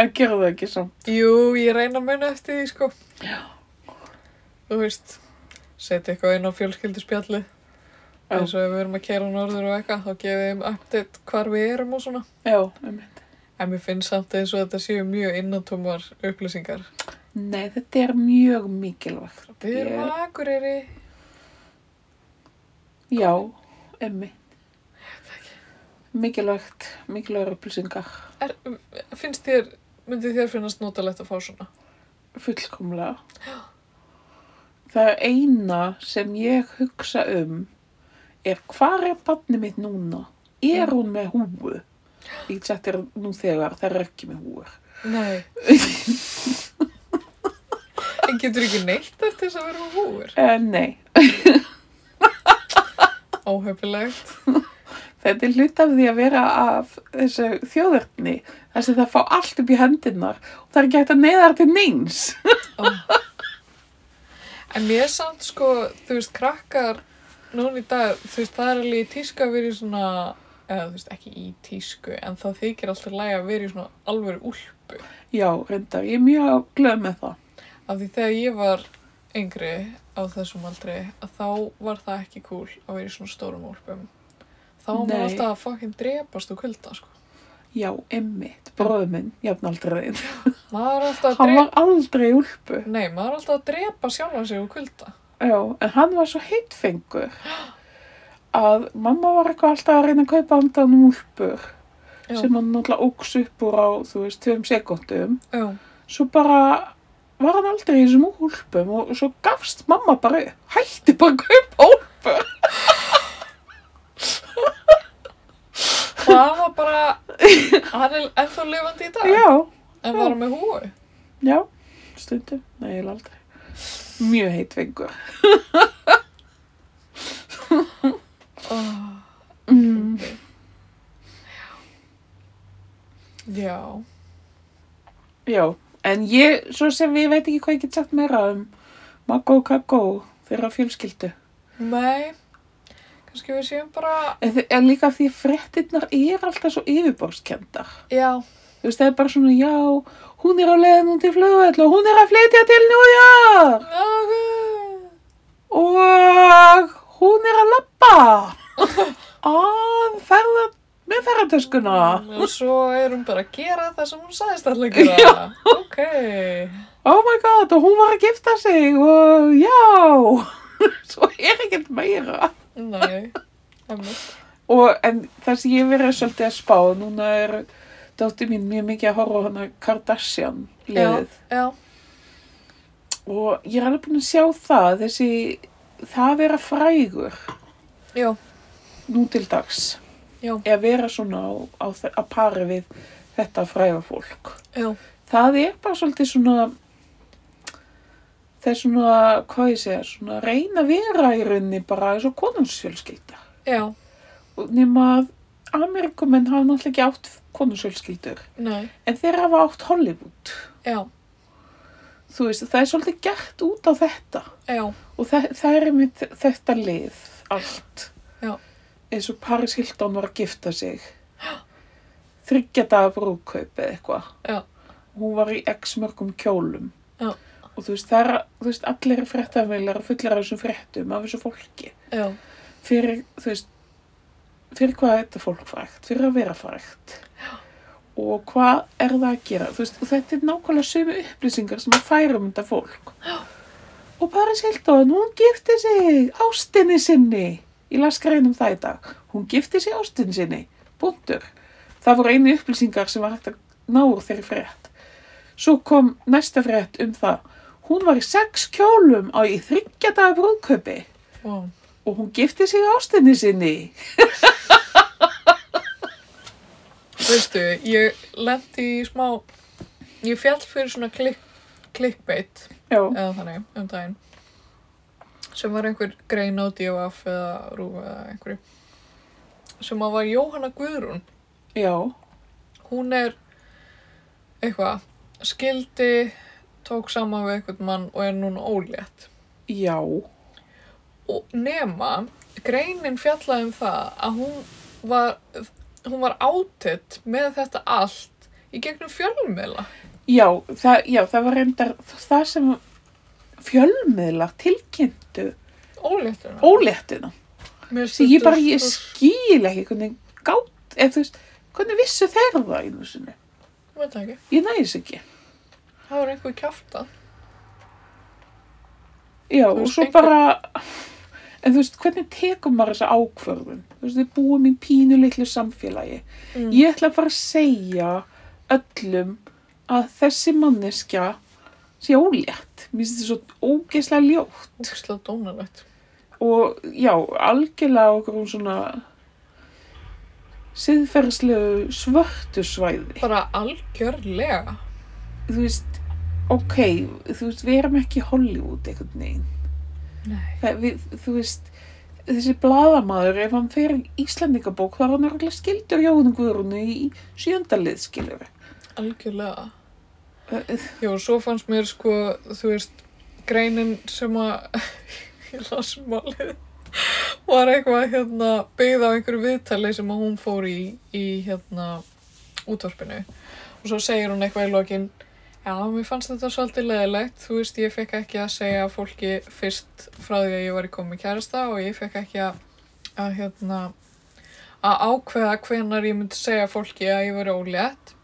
Speaker 2: en gerðu það ekki samt.
Speaker 1: Jú, ég reyna að muna eftir því, sko. Já. Þú veist, setja eitthvað inn á fjölskylduspjallið.
Speaker 2: Já.
Speaker 1: Eins og ef við erum að kæra norður og eitthvað, þá gefum við um update hvar við erum og svona.
Speaker 2: Já, einmitt.
Speaker 1: En mér finnst samt eins og þetta séu mjög innantómar upplýsingar.
Speaker 2: Nei, þetta er mjög mikilvægt.
Speaker 1: Við erum
Speaker 2: Ég-
Speaker 1: yeah. að Akureyri.
Speaker 2: Já, einmitt. Mikilvægt, mikilvægur upplýsingar.
Speaker 1: Er, finnst þér, myndi þér finnast notalegt að fá svona?
Speaker 2: Fullkomlega. Það er eina sem ég hugsa um er hvar er barnið mitt núna? Er hún með húu? Líkt sett er nú þegar, það er ekki með húur.
Speaker 1: Nei. en getur ekki neitt eftir þess að vera á húur?
Speaker 2: Uh, nei,
Speaker 1: Óhefilegt.
Speaker 2: þetta er hlut af því að vera af þessu þjóðurni. Þess að það fá allt upp í hendunar og það er ekki hægt að neyða þar til neins.
Speaker 1: En mér samt sko, þú veist, krakkar núna í dag, þú veist, það er alveg í tísku að vera í svona eða þú veist, ekki í tísku, en það þykir alltaf læg að vera í svona alvöru úlpu.
Speaker 2: Já, reyndar, ég er mjög glöð með það.
Speaker 1: Af því þegar ég var yngri á þessum aldri, að þá var það ekki cool að vera í svona stórum úlpum. Þá var maður
Speaker 2: Nei.
Speaker 1: alltaf að fucking drepast úr kulda, sko.
Speaker 2: Já, emmitt, bróðu minn, jafnaldrið þinn.
Speaker 1: Maður er alltaf að
Speaker 2: Hann
Speaker 1: drepa,
Speaker 2: var aldrei í úlpu.
Speaker 1: nei, maður er alltaf að drepa sjálfa sig úr kulda.
Speaker 2: Já, en hann var svo heitfengur að mamma var eitthvað alltaf að reyna að kaupa andan um úlpur
Speaker 1: Já.
Speaker 2: sem hann náttúrulega óks upp úr á, þú veist, tveim sekundum.
Speaker 1: Já,
Speaker 2: Svo bara var hann aldrei í þessum úlpum og svo gafst mamma bara upp. Hætti bara að kaupa úlpur.
Speaker 1: og hann var bara, hann er ennþá lifandi í dag,
Speaker 2: Já,
Speaker 1: en var hann með húu.
Speaker 2: já, stundum. Nei, ég aldrei. Mjög heitfengur.
Speaker 1: Oh.
Speaker 2: Mm.
Speaker 1: Já,
Speaker 2: Já, en ég, svo sem ég veit ekki hvað ég get sagt meira um Maggo og Kakko þeirra fjölskyldu.
Speaker 1: nei, kannski við séum bara,
Speaker 2: En, þi- en líka af því frettinnar er alltaf svo yfirborðskendar.
Speaker 1: já,
Speaker 2: Þú veist, það er bara svona, já, hún er á leiðin út í flugvöld og hún er að flytja til New York og hún er að labba að ferða með ferðartöskuna.
Speaker 1: og svo er hún bara að gera það sem hún sagðist alltaf
Speaker 2: [LAUGHS]
Speaker 1: að gera, ok,
Speaker 2: Oh my god, og hún var að gifta sig og já, [LAUGHS] svo er ekkert meira.
Speaker 1: nei, emmitt,
Speaker 2: Og en það sem ég hef verið svolítið að spá, núna er dóttir mín mjög mikið að horfa á hana Kardashian
Speaker 1: já,
Speaker 2: liðið.
Speaker 1: já,
Speaker 2: Og ég er alveg búin að sjá það, þessi, það að vera frægur
Speaker 1: já,
Speaker 2: nú til dags.
Speaker 1: Já.
Speaker 2: Eða vera svona á, á, þe- að pari við þetta fræga fólk.
Speaker 1: já,
Speaker 2: Það er bara svolítið svona, það er svona, hvað ég segja, svona að reyna að vera í rauninni bara eins og konunsfjölskylda.
Speaker 1: já,
Speaker 2: Og nema að Amerikumenn hafa náttúrulega ekki átt konunsfjölskyldur.
Speaker 1: nei,
Speaker 2: En þeir hafa átt Hollywood.
Speaker 1: já,
Speaker 2: Þú veist, það er svolítið gert út á þetta.
Speaker 1: já,
Speaker 2: Og það, það er mitt þetta lið, allt.
Speaker 1: Já.
Speaker 2: Eins og Paris Hilton var að gifta sig. Þryggja daga brúðkaup eða eitthvað.
Speaker 1: Já.
Speaker 2: Hún var í x mörgum kjólum.
Speaker 1: Já.
Speaker 2: Og þú veist, það er, þú veist, allir fréttafélagar fullir af þessum fréttum af þessu fólki.
Speaker 1: já,
Speaker 2: Fyrir, þú veist, fyrir hvað er þetta fólk frægt? Fyrir að vera frægt. og hvað er það að gera þú veist, og þetta er nákvæmlega sömu upplýsingar sem að færa um þetta fólk Já. og Paris Hilton, hún gifti sig ástinni sinni ég las grein um það í dag hún gifti sig ástinni sinni, búndur það voru einu upplýsingar sem var hægt að ná úr þeirri frétt svo kom næsta frétt um það hún var í sex kjólum á í þryggja daga brúðkaupi
Speaker 1: wow,
Speaker 2: og hún gifti sig ástinni sinni
Speaker 1: veistu, ég lendi í smá, ég fjall fyrir svona klikk, klikkbeitt,
Speaker 2: Já.
Speaker 1: eða þannig um daginn sem var einhver grein á DFF eða rúf eða einhverju sem að var Jóhanna Guðrún
Speaker 2: Já.
Speaker 1: hún er eitthvað skildi tók saman við einhvern mann og er núna ólétt
Speaker 2: Já.
Speaker 1: og nema greinin fjallaði um það að hún var hún var átitt með þetta allt í gegnum fjölmiðla
Speaker 2: Já, það, já, það var reyndar það sem fjölmiðlar tilkynntu
Speaker 1: óléttuna
Speaker 2: óléttina.
Speaker 1: Mér sko-
Speaker 2: Því ég
Speaker 1: stendur
Speaker 2: bara, ég
Speaker 1: svo-
Speaker 2: skil ekki hvernig gátt, eða þú veist, hvernig vissu þeir það einu sinni.
Speaker 1: Ég veit það ekki.
Speaker 2: Ég næðis ekki.
Speaker 1: það var einhver kjáftan
Speaker 2: Já,
Speaker 1: Þú
Speaker 2: og
Speaker 1: veist,
Speaker 2: svo
Speaker 1: einhver-
Speaker 2: bara, en þú veist, hvernig tekum maður þessa ákvörðun? Þú veist, við búum í pínu litlu samfélagi.
Speaker 1: Mm.
Speaker 2: Ég ætla að fara að segja öllum að þessi manneskja sé ólétt. Mér finnst þetta svo ógeðslega ljótt.
Speaker 1: úkslega dónalegt
Speaker 2: og já, algjörlega á okkur um svona siðferðslegu svörtu svæði.
Speaker 1: bara algjörlega
Speaker 2: Þú veist, ok, þú veist, við erum ekki í Hollywood einhvern veginn.
Speaker 1: Nei.
Speaker 2: Það, við, þú veist, þessi bladamaður, ef hann fer í Íslandingabók, þá er hann örgulega skildur Jóhann Guðrúnu í sjöndalið, skilur við.
Speaker 1: algjörlega Já, og svo fannst mér sko, [LAUGHS] þú veist, greinin sem að ég las um málið var eitthvað hérna, byggð á einhverju viðtali sem að hún fór í, í hérna, útvarpinu og svo segir hún eitthvað í lokin Já, mér fannst þetta svolítið leðilegt, þú veist, ég fekk ekki að segja fólki fyrst frá því að ég var í komi kærasta og ég fekk ekki að, að hérna, að ákveða hvenar ég myndi segja fólki að ég veri ólétt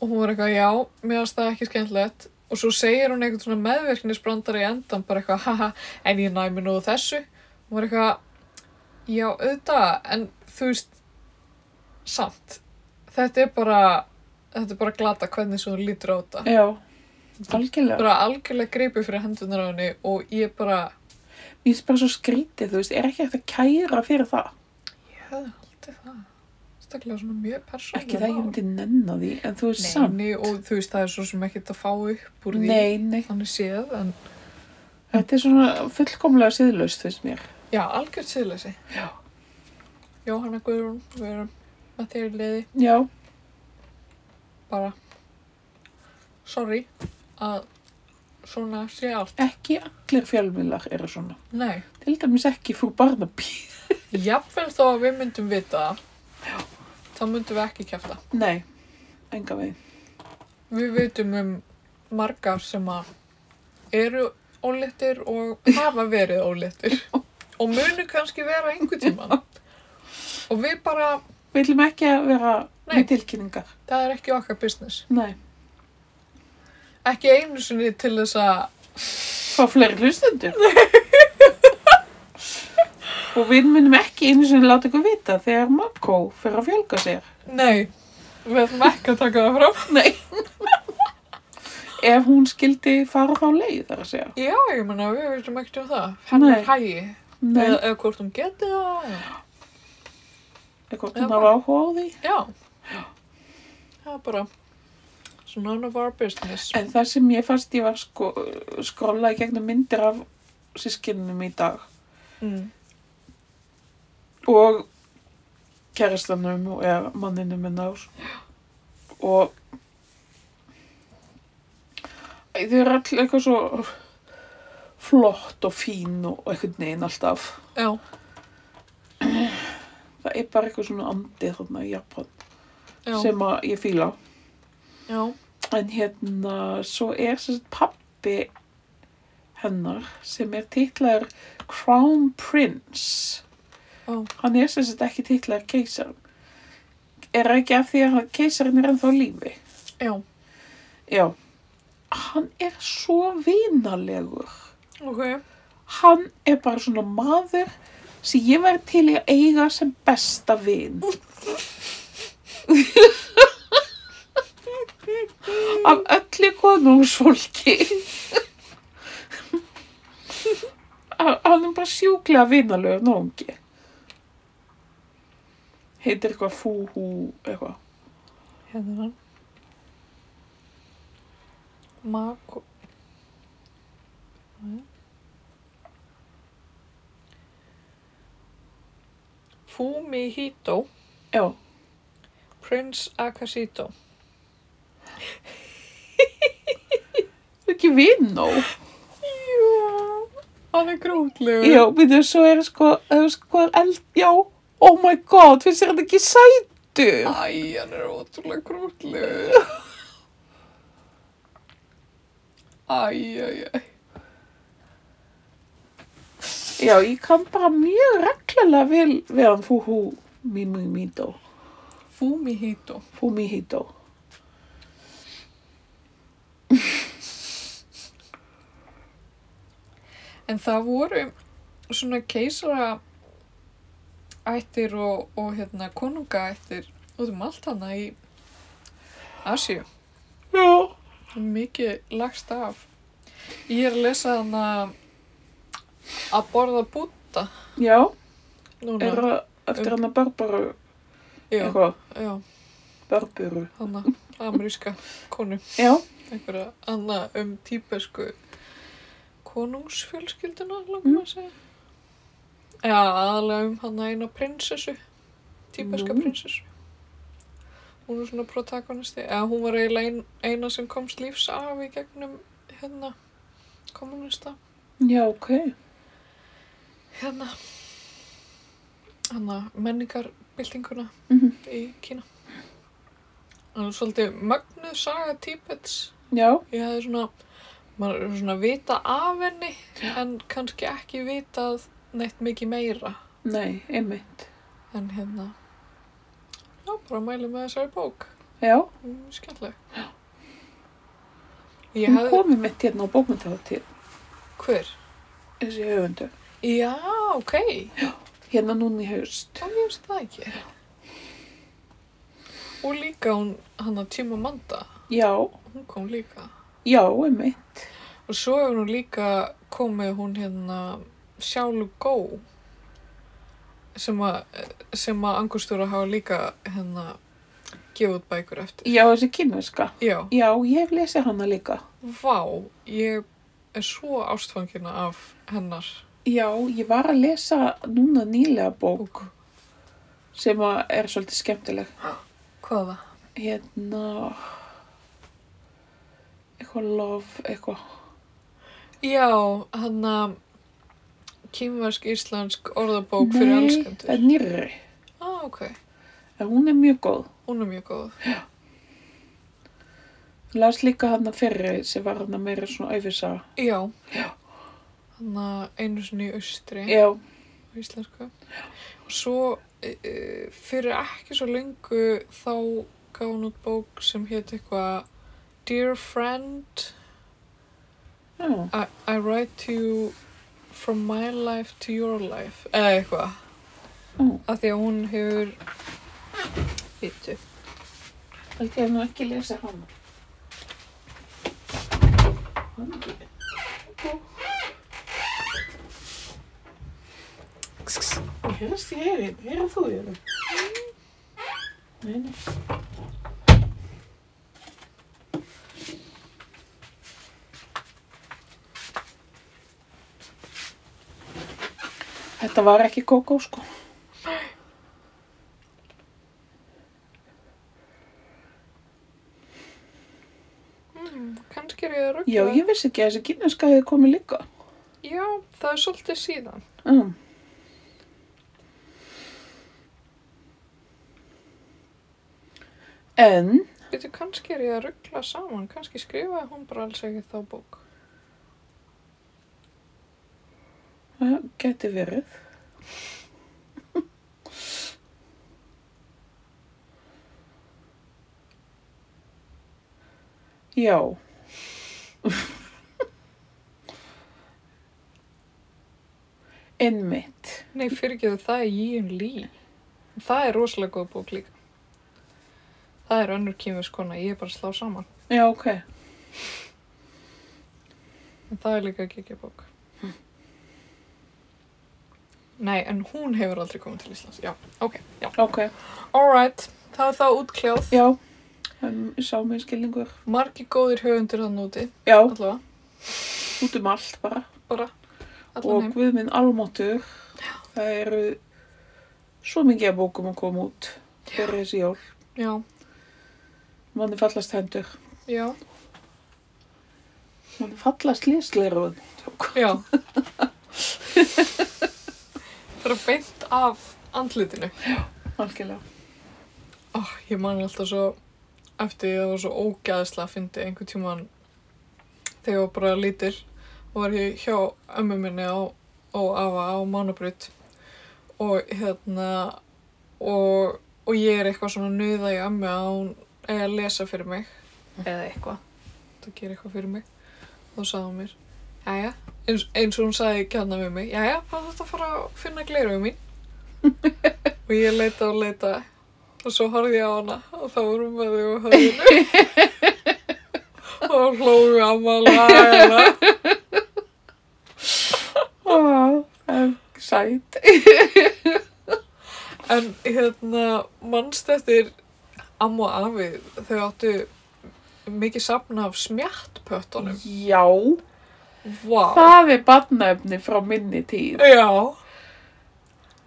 Speaker 1: og hún var eitthvað, já, mér finnst það ekki skemmtilegt og svo segir hún eitthvað svona meðverknisbrandar í endan bara eitthvað, haha, en ég næmi nú þessu hún var eitthvað, já, auðvitað, en þú veist samt þetta er bara, þetta er bara glata hvernig svo hún lítur á þetta
Speaker 2: Já, algjörlega.
Speaker 1: bara algjörlega greipi fyrir hendunar á henni og ég bara
Speaker 2: Mér finnst bara svo skrítið, þú veist, er ekki hægt að kæra fyrir það?
Speaker 1: ég hefði haldið það staklega svona mjög persónulega
Speaker 2: Ekki það ég myndi nenn á því, en þú veist samt.
Speaker 1: Nei, og þú veist, það er svo sem ekkert að fá upp úr því
Speaker 2: Nei, nei.
Speaker 1: þannig séð, en
Speaker 2: Þetta er svona fullkomlega siðlaust, finnst mér.
Speaker 1: já, algjörð síðleysi. Já. Jóhanna Guðrún, við erum með þér í liði,
Speaker 2: Já,
Speaker 1: bara, sorry, að svona sé allt.
Speaker 2: ekki allir fjölmiðlar eru svona.
Speaker 1: Nei,
Speaker 2: Til dæmis ekki frú Barnaby.
Speaker 1: jafnvel þó að við myndum vita það, þá myndum við ekki kæfta.
Speaker 2: Nei, enga veginn.
Speaker 1: Við vitum um margar sem að eru ólittir og hafa verið
Speaker 2: [LAUGHS]
Speaker 1: ólittir og munu kannski vera einhvern tíman. Og við bara,
Speaker 2: Við viljum ekki að vera
Speaker 1: Nei.
Speaker 2: með tilkynningar.
Speaker 1: það er ekki okkar business.
Speaker 2: Nei.
Speaker 1: Ekki einu sinni til þess að,
Speaker 2: Fá fleiri [LAUGHS] hlustendur. Og við munum ekki einu sinni láta ykkur vita þegar Mapco fer að fjölga sér.
Speaker 1: nei, við ætlum ekki að taka það
Speaker 2: [LAUGHS]
Speaker 1: fram.
Speaker 2: Nei. Ef hún skildi fara þá leið þar að segja.
Speaker 1: Já, ég meina, við veitum ekkert um það. Hennar
Speaker 2: Nei.
Speaker 1: hægi,
Speaker 2: Nei.
Speaker 1: eða, eða hvort hún geti það. eða-
Speaker 2: Eitthvað hún hafa áhuga á því.
Speaker 1: Já. Það er bara, it's none of our business.
Speaker 2: En það sem ég fannst ég var sko, skrolla í gegnum myndir af sískinnum í dag Eh.
Speaker 1: Mm.
Speaker 2: og kæristanum og eða manninum hennar og Æ, þau eru allir eitthvað svo flott og fín og og einhvern veginn alltaf.
Speaker 1: Já,
Speaker 2: Það er bara eitthvað svona andið þarna í Japan
Speaker 1: já,
Speaker 2: sem að ég fíla.
Speaker 1: já,
Speaker 2: En hérna, svo er sem sagt pappi hennar sem er titlaður Crown Prince.
Speaker 1: Ó.
Speaker 2: Hann er sem sagt ekki titlaður keisar. Er það ekki af því að hann- keisarinn er ennþá á lífi?
Speaker 1: já,
Speaker 2: Já. Hann er svo vinalegur.
Speaker 1: ok,
Speaker 2: Hann er bara svona maður sem ég væri til í að eiga sem besta vin. Af öllu konungsfólki. Hann hann er bara sjúklega vinalegur náungi. Heitir eitthvað fúhú eitthvað.
Speaker 1: hérna er hann. Mako. Hérna. Fumihito,
Speaker 2: Já,
Speaker 1: Prince Akashito.
Speaker 2: það er ekki vin nóg.
Speaker 1: Já, hann er grótlegur.
Speaker 2: Já, býtu, svo er sko, er sko eld, já, oh my god, finnst þér þetta ekki sætur?
Speaker 1: Æ, hann er ótrúlega [LAUGHS] grútlegur. Æ, æ, æ.
Speaker 2: Já, ég kann bara mjög reglulega vel við hann fúhú mímímító,
Speaker 1: Fumihito.
Speaker 2: fúmíhító.
Speaker 1: En það voru svona keisara ættir og, og hérna konunga ættir út um allt hana í Asíu.
Speaker 2: Já,
Speaker 1: Mikið lagst af. Ég er að lesa hana að borða búta
Speaker 2: já,
Speaker 1: núna.
Speaker 2: er það eftir hann að barbaru,
Speaker 1: já,
Speaker 2: eitthvað,
Speaker 1: já,
Speaker 2: barburu.
Speaker 1: hana ameríska konu.
Speaker 2: Já,
Speaker 1: einhverja annað um típesku konungsfjölskylduna, langum mm. að segja. Já, aðalega um hann eina prinsessu, típeska
Speaker 2: Nú.
Speaker 1: prinsessu. Hún er svona protagonisti, eða hún var eiginlega ein, eina sem komst lífs af í gegnum hérna, kommunista.
Speaker 2: já, ok.
Speaker 1: hérna hérna menningarbyltinguna
Speaker 2: Mhm.
Speaker 1: í Kína það er svolítið mögnuð saga Tíbets
Speaker 2: Já,
Speaker 1: ég hefði svona maður er svona vita af henni en kannski ekki vitað neitt mikið meira
Speaker 2: nei, einmitt.
Speaker 1: en hérna já, bara mælum með þessari bók
Speaker 2: Já,
Speaker 1: Mm, skemmtileg ég
Speaker 2: hún
Speaker 1: hefði,
Speaker 2: komið mitt hérna á bókmyndahátíð,
Speaker 1: hver?
Speaker 2: þessi höfundu.
Speaker 1: já, ok,
Speaker 2: Hérna núna í haust.
Speaker 1: þá ég veist það ekki og líka hún hann að tíma manda
Speaker 2: Já,
Speaker 1: hún kom líka
Speaker 2: já, einmitt.
Speaker 1: og svo hefur hún líka komið hún hérna Sjálu Gó sem að sem að angustúra hafa líka hérna gefið út bækur eftir
Speaker 2: Já, þessi kínverska.
Speaker 1: já,
Speaker 2: Já, ég hef lesið hana líka.
Speaker 1: vá ég er svo ástfangina af hennar
Speaker 2: Já, ég var að lesa núna nýlega bók
Speaker 1: bók
Speaker 2: sem að er svolítið skemmtileg.
Speaker 1: hvaða?
Speaker 2: Hérna, eitthvað love, eitthvað.
Speaker 1: já, hann að kýmversk-íslensk orðabók fyrir
Speaker 2: Nei,
Speaker 1: elskendur
Speaker 2: það er nýrri.
Speaker 1: ah, ok,
Speaker 2: En hún er mjög góð.
Speaker 1: hún er mjög góð
Speaker 2: Las líka hana fyrri sem var hana meira svona æfisaga.
Speaker 1: já, hann að einu sinni í austri
Speaker 2: Já,
Speaker 1: á íslensku. sko. Og svo e, e, fyrir ekki svo lengu þá gaf hún út bók sem hétt eitthvað Dear friend,
Speaker 2: já,
Speaker 1: I, I write to you from my life to your life eða eitthvað.
Speaker 2: Mm.
Speaker 1: Af því að hún hefur Býtu.
Speaker 2: held ég hef nú ekki lesið hana. Hana ekki. Hérst ég heyrið, heyrið þú ég það? Nei, nei. Þetta var ekki kókó sko.
Speaker 1: Mm, kannski er ég að rugga.
Speaker 2: Já, ég vissi ekki að þessi kynneska hefði komið líka.
Speaker 1: Já, það er svolítið síðan.
Speaker 2: Um. En,
Speaker 1: Býtu, kannski er ég að ruggla saman. Kannski skrifaði hún bara alls ekki þá bók.
Speaker 2: það geti verið. [LAUGHS] Já. [LAUGHS] Einmitt.
Speaker 1: Nei, fyrirgeðu, það er Yin Lee. Það er rosalega góð bók líka. Það er önnur kýmiskona, ég er bara að slá saman.
Speaker 2: Já, ok.
Speaker 1: En það er líka ekki bók.
Speaker 2: Hm.
Speaker 1: Nei, en hún hefur aldrei komið til Íslands. Já, ok, já.
Speaker 2: Ok.
Speaker 1: Alright, það er það útkljáð.
Speaker 2: Já, um, sá mig skilningur.
Speaker 1: Margi góðir höfundur þann úti,
Speaker 2: Já,
Speaker 1: allavega,
Speaker 2: út um allt bara.
Speaker 1: bara. Allan
Speaker 2: og
Speaker 1: heim.
Speaker 2: Guð minn almáttur, það eru svo mikið af bókum að koma út fyrir þessi jól.
Speaker 1: Já,
Speaker 2: Manni fallast hendur,
Speaker 1: já,
Speaker 2: manni fallast lesleirun.
Speaker 1: já.
Speaker 2: [LAUGHS]
Speaker 1: það er beint af andlitinu.
Speaker 2: Algjörlega.
Speaker 1: Oh, ég man alltaf svo eftir því það var svo ógæðslega að fyndi einhvern tímann þegar ég var bara lítil og var ég hjá ömmu minni á, og afa á mánabrytt og hérna og, og ég er eitthvað svona nöða í ömmu að hún eigi að lesa fyrir mig eða eitthvað það gerir eitthvað fyrir mig og þá sagði hún mér jæja, eins, eins og hún sagði gæðna við mig jæja, hvað þetta að fara að finna gleru [LAUGHS] mín og ég leita og leita Og svo horfði ég á hana og þá vorum við því á höfðinu. og þá hlóðum við amma að laga hana.
Speaker 2: Ó, það er sætt.
Speaker 1: En hérna, mannst eftir amma og afi, þau áttu mikið safna af smjartpötunum.
Speaker 2: Já,
Speaker 1: Vá.
Speaker 2: það er badnaefni frá minni tíð.
Speaker 1: Já,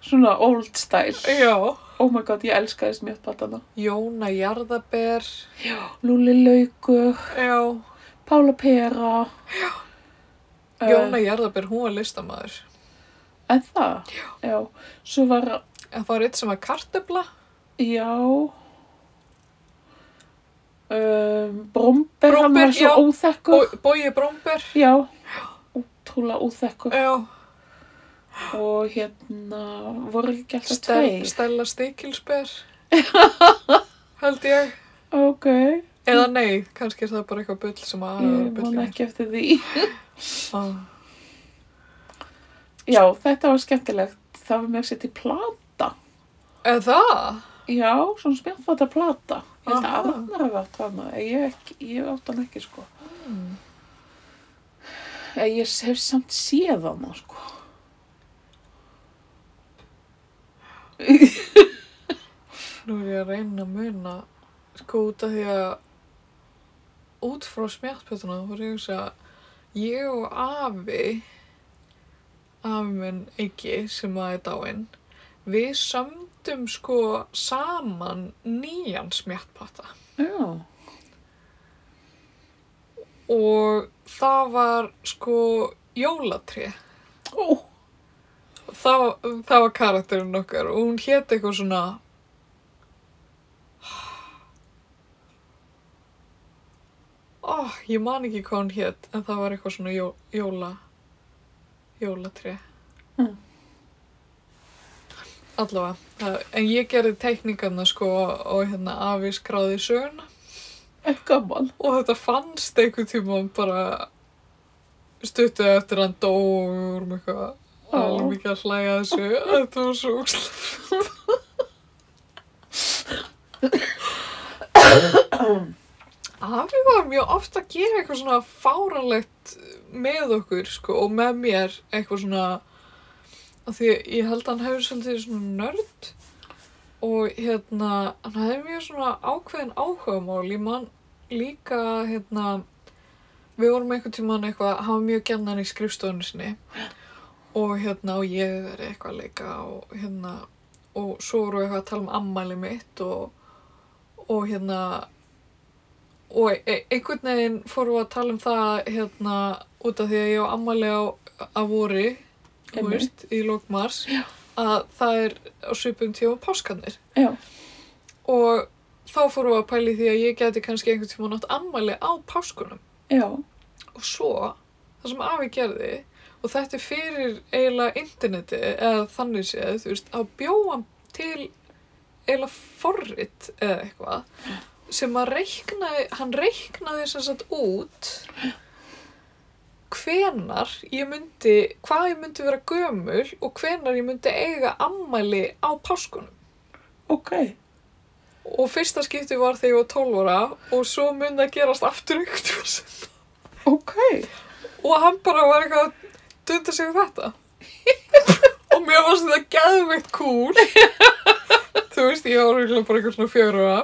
Speaker 2: Svona old style.
Speaker 1: já.
Speaker 2: Oh my god, ég elskaði smjöttbattana.
Speaker 1: Jóna Jarðaber,
Speaker 2: Lúli laukur,
Speaker 1: já.
Speaker 2: Pála pera. Eh, Já,
Speaker 1: Jóna Jarðaber, hún var listamaður.
Speaker 2: En það? Já. Svo var,
Speaker 1: En það var eitt sem var kartebla.
Speaker 2: já, um, Bromber, hann
Speaker 1: Bromber,
Speaker 2: var svo
Speaker 1: já.
Speaker 2: óþekkur.
Speaker 1: Bó, Bói Brómber.
Speaker 2: Já, útrúlega óþekkur.
Speaker 1: Já.
Speaker 2: Og hérna, voru ekki alltaf
Speaker 1: Stel,
Speaker 2: tveir?
Speaker 1: Stella Stikilsber. Held ég.
Speaker 2: Ok,
Speaker 1: Eða nei, kannski er það bara eitthvað bull sem að aðra
Speaker 2: ég man
Speaker 1: bull.
Speaker 2: ekki eftir því.
Speaker 1: Ah.
Speaker 2: Já, þetta var skemmtilegt. Það var með að setja í plata.
Speaker 1: Eða það?
Speaker 2: Já, svona spjallfata plata. Ég held að
Speaker 1: Aha.
Speaker 2: Arnar hafi átt hana. en Ég, ekki, ég átt hann ekki, sko.
Speaker 1: Mm.
Speaker 2: En Ég hef samt séð hana, sko.
Speaker 1: Nú er ég að reyna að muna. Sko út af því að út frá smjáttpötuna þá voru ég að segja ég og afi afi minn ekki sem að er dáinn við sömdum sko saman nýjan smjáttpata
Speaker 2: Já,
Speaker 1: og það var sko jólatri
Speaker 2: ó,
Speaker 1: það, það var karakterinn okkar og hún hétt eitthvað svona Ó, Ah, ég man ekki hvað hún hétt en það var eitthvað svona jó, jóla jólatri
Speaker 2: Mm.
Speaker 1: allavega það, en ég gerði teikningarna sko og hérna afi skráði söguna
Speaker 2: ekki gaman.
Speaker 1: Og þetta fannst einhvern tímann bara stuttu eftir hann dó og við vorum eitthvað
Speaker 2: Ó.
Speaker 1: alveg mikið að hlæja að þessu. Þetta var svo úkslega. Afi var mjög oft að gera eitthvað svona fáranlegt með okkur sko og með mér eitthvað svona af því ég held að hann hefur svolítið svona nörd og hérna hann hefði mjög svona ákveðin áhugamál ég man líka hérna við vorum einhvern tímann eitthvað hann var mjög gjarnan í skrifstofunni sinni og hérna og ég er eitthvað að leika og hérna og svo vorum við eitthvað að tala um ammæli mitt og, og hérna og e einhvern veginn fórum við að tala um það hérna út af því að ég á ammæli á, á vori þú
Speaker 2: Einmitt.
Speaker 1: veist, í lókmars að það er á svipum tíma páskanir
Speaker 2: Já,
Speaker 1: og þá fórum við að pæli því að ég geti kannski einhvern tíma nátt ammæli á páskunum
Speaker 2: já,
Speaker 1: og svo, það sem afi gerði og þetta er fyrir eiginlega interneti eða þannig séð, þú veist, að bjóa til eiginlega forrit eða eitthvað sem að reiknaði, hann reiknaði sem sagt út hvenar ég myndi, hvað ég myndi vera gömul og hvenar ég myndi eiga ammæli á páskunum.
Speaker 2: ok.
Speaker 1: Og fyrsta skipti var þegar ég var 12 ára og svo mun það gerast aftur ykkur.
Speaker 2: Ok.
Speaker 1: Og hann bara var eitthvað að dunda sig við þetta. og mér fannst þetta geðveikt kúl. Þú veist, ég var eiginlega bara eitthvað svona fjögur ára.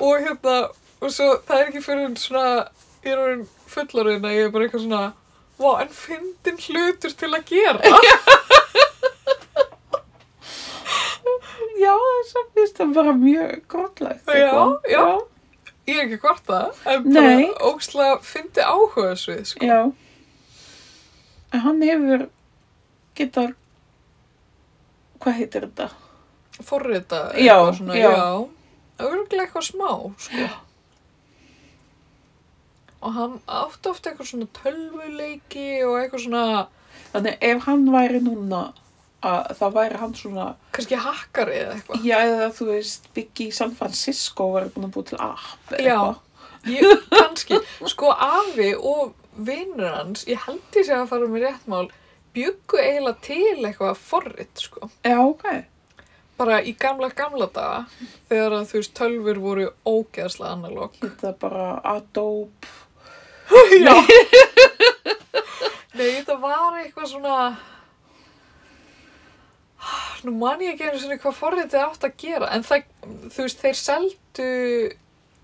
Speaker 1: Og hérna, og svo það er ekki fyrir svona, ég er orðin fullorinn að ég er bara eitthvað svona, vá, en fyndin hlutur til að gera.
Speaker 2: Já, þess að finnst það bara mjög grótlegt.
Speaker 1: Já, já. ég er ekki hvort það, en
Speaker 2: Nei.
Speaker 1: bara ókslega fyndi áhuga svið, sko.
Speaker 2: Já. En hann hefur getur, hvað heitir þetta?
Speaker 1: forrita
Speaker 2: Já,
Speaker 1: eitthvað svona,
Speaker 2: já.
Speaker 1: já. Örglega eitthvað smá, sko. Og hann átti oft eitthvað svona tölvuleiki og eitthvað svona,
Speaker 2: Þannig ef hann væri núna, að, þá væri hann svona,
Speaker 1: kannski hakkari eða eitthvað.
Speaker 2: já eða þú veist, byggi í San Francisco og væri búin að búi til app. eða
Speaker 1: Já,
Speaker 2: eitthvað.
Speaker 1: ég, kannski. Sko, afi og vinnur hans, ég held ég sé að fara með rétt mál, bjuggu eiginlega til eitthvað forrit, sko.
Speaker 2: Já, ok.
Speaker 1: Bara í gamla, gamla daga, þegar að þú veist, tölvur voru ógeðslega analóg.
Speaker 2: Þetta bara Adobe.
Speaker 1: Já. Nei, þetta var eitthvað svona... Nú man ég ekki einu svona hvað forritið átt að gera, en það, þú veist, þeir seldu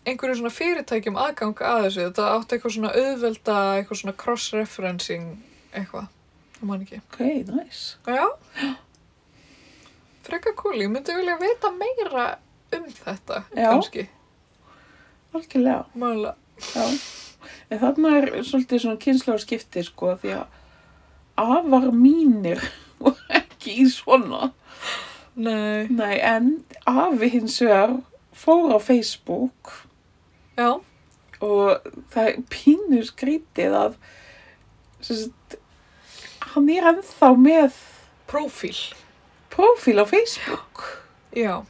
Speaker 1: einhverju svona fyrirtækjum aðgang að þessu. Þetta átt eitthvað svona auðvelda, eitthvað svona cross-referencing, eitthvað. Nú man ekki.
Speaker 2: Ok, nice.
Speaker 1: Já. Frekka cool, ég myndi vilja vita meira um þetta,
Speaker 2: Já.
Speaker 1: kannski.
Speaker 2: Algjörlega.
Speaker 1: Mögulega.
Speaker 2: Já, en þarna er svolítið svona kynnslóðskipti sko því að afar mínir voru ekki í svona.
Speaker 1: Nei.
Speaker 2: Nei, en afi hins vegar fór á Facebook
Speaker 1: Já.
Speaker 2: og það er pínu skrítið að sem sagt, hann er ennþá með
Speaker 1: Prófíl.
Speaker 2: prófíl á Facebook.
Speaker 1: Já.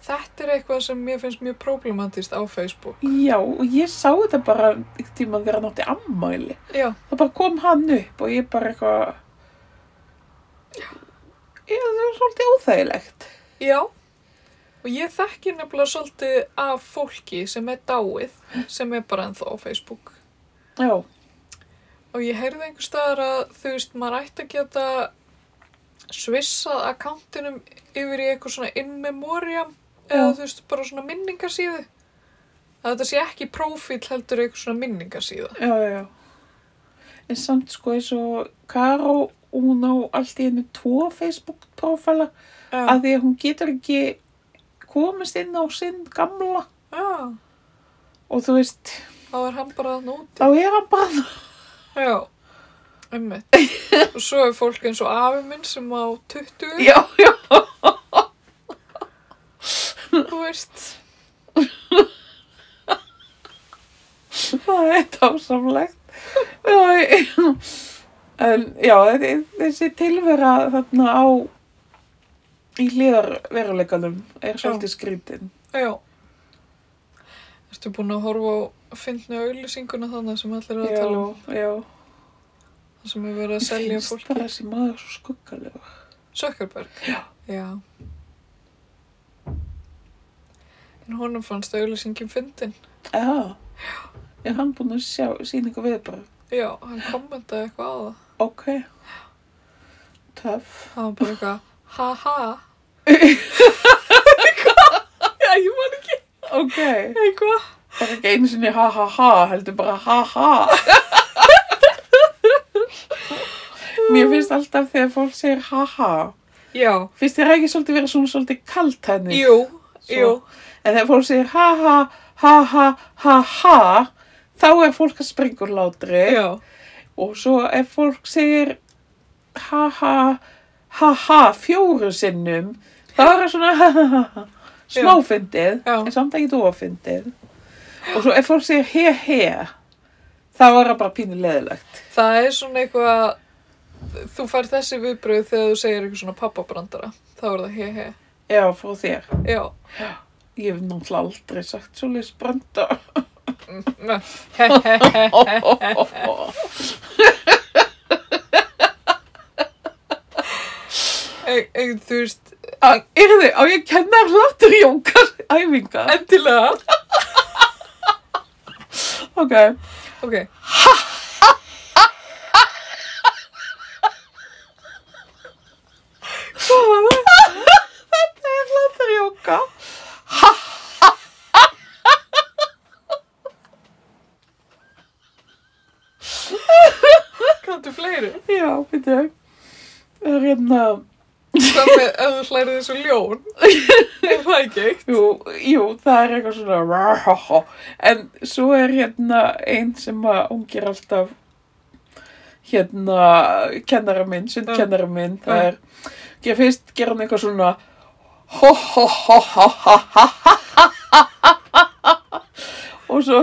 Speaker 1: Þetta er eitthvað sem mér finnst mjög problematist á Facebook.
Speaker 2: Já, og ég sá þetta bara ykkur tíma þegar hann átti ammæli.
Speaker 1: Já.
Speaker 2: Það bara kom hann upp og ég bara eitthvað... Já, það var svolítið óþægilegt.
Speaker 1: Já. Og ég þekki nefnilega svolítið af fólki sem er dáið, sem er bara ennþá á Facebook.
Speaker 2: Já,
Speaker 1: Og ég heyrði einhver staðar að þú veist, maður ætti að geta svissað akkántinum yfir í eitthvað svona in memoriam eða
Speaker 2: Já.
Speaker 1: þú veist, bara svona minningarsíðu. Að þetta sé ekki prófíl heldur eitthvað svona minningarsíða.
Speaker 2: já, já, já. En samt sko eins og Karó, hún á allt í einu tvo Facebook-prófæla
Speaker 1: Já.
Speaker 2: að því að hún getur ekki komist inn á sinn gamla
Speaker 1: Já.
Speaker 2: og þú veist,
Speaker 1: Þá er hann bara að
Speaker 2: þá
Speaker 1: núti.
Speaker 2: er hann bara
Speaker 1: Já. Einmitt. Og svo er fólk eins og afi minn sem á 20,
Speaker 2: Já, já,
Speaker 1: þú veist.
Speaker 2: [LAUGHS] það er dásamlegt Já, en já, þe- þessi tilvera þarna á í hliðar veruleikanum er svolítið skrítin
Speaker 1: Já. Ertu búin að horfa á fyndni auðlýsinguna þannig sem allir eru að
Speaker 2: Já,
Speaker 1: tala um
Speaker 2: já
Speaker 1: það sem er verið að
Speaker 2: Mér
Speaker 1: selja
Speaker 2: finnst
Speaker 1: fólki?
Speaker 2: bara þessi maður svo skuggalegur
Speaker 1: Zuckerberg? Já. En honum fannst auðlýsingin fyndin.
Speaker 2: Já, er hann búinn að sjá sýningu við bara,
Speaker 1: Já, hann kommentaði eitthvað á það.
Speaker 2: ok Töff
Speaker 1: Það var bara eitthvað, ha ha. Eitthvað? Já, ég man ekki
Speaker 2: Ok,
Speaker 1: eitthvað.
Speaker 2: bara ekki einu sinni ha ha ha, heldur bara ha ha Mér finnst alltaf þegar fólk segir ha ha
Speaker 1: Já,
Speaker 2: Finnst þér ekki svolítið verið svona svolítið kalt henni?
Speaker 1: jú, jú.
Speaker 2: En þegar fólk segir ha ha ha ha ha ha Þá er fólk að springur látri
Speaker 1: Já,
Speaker 2: Og svo ef fólk segir ha ha ha ha fjóru sinnum þá er það svona ha ha ha ha smáfyndið
Speaker 1: Já.
Speaker 2: en samt ekki dóafyndið og svo ef fólk segir he he þá er það bara pínu leðilegt
Speaker 1: það er svona eitthvað, þú fær þessi viðbröð þegar þú segir eitthvað svona pappabrandara. Þá er það he he.
Speaker 2: já frá þér
Speaker 1: Já,
Speaker 2: ég hef náttúrulega aldrei sagt svo leis brönda
Speaker 1: Mm, he he he. Ein- ein- Þú veist,
Speaker 2: er þið á ég kenna hlátur jónkar æfingar
Speaker 1: endilega.
Speaker 2: ok
Speaker 1: Ok.
Speaker 2: Hvað var það? Þetta er hláturjóka.
Speaker 1: Kanntu fleiri?
Speaker 2: Já, veitu. Það er hérna,
Speaker 1: Hvað með ef þú hlærið þessu ljón? Er það ekki eitt?
Speaker 2: jú, jú, það er eitthvað svona ráhóhó. En svo er hérna einn sem að ungir alltaf hérna kennara minn, sundkennara minn, það er, ég fyrst gera hann eitthvað svona hó hó hó hó hó hó hó og svo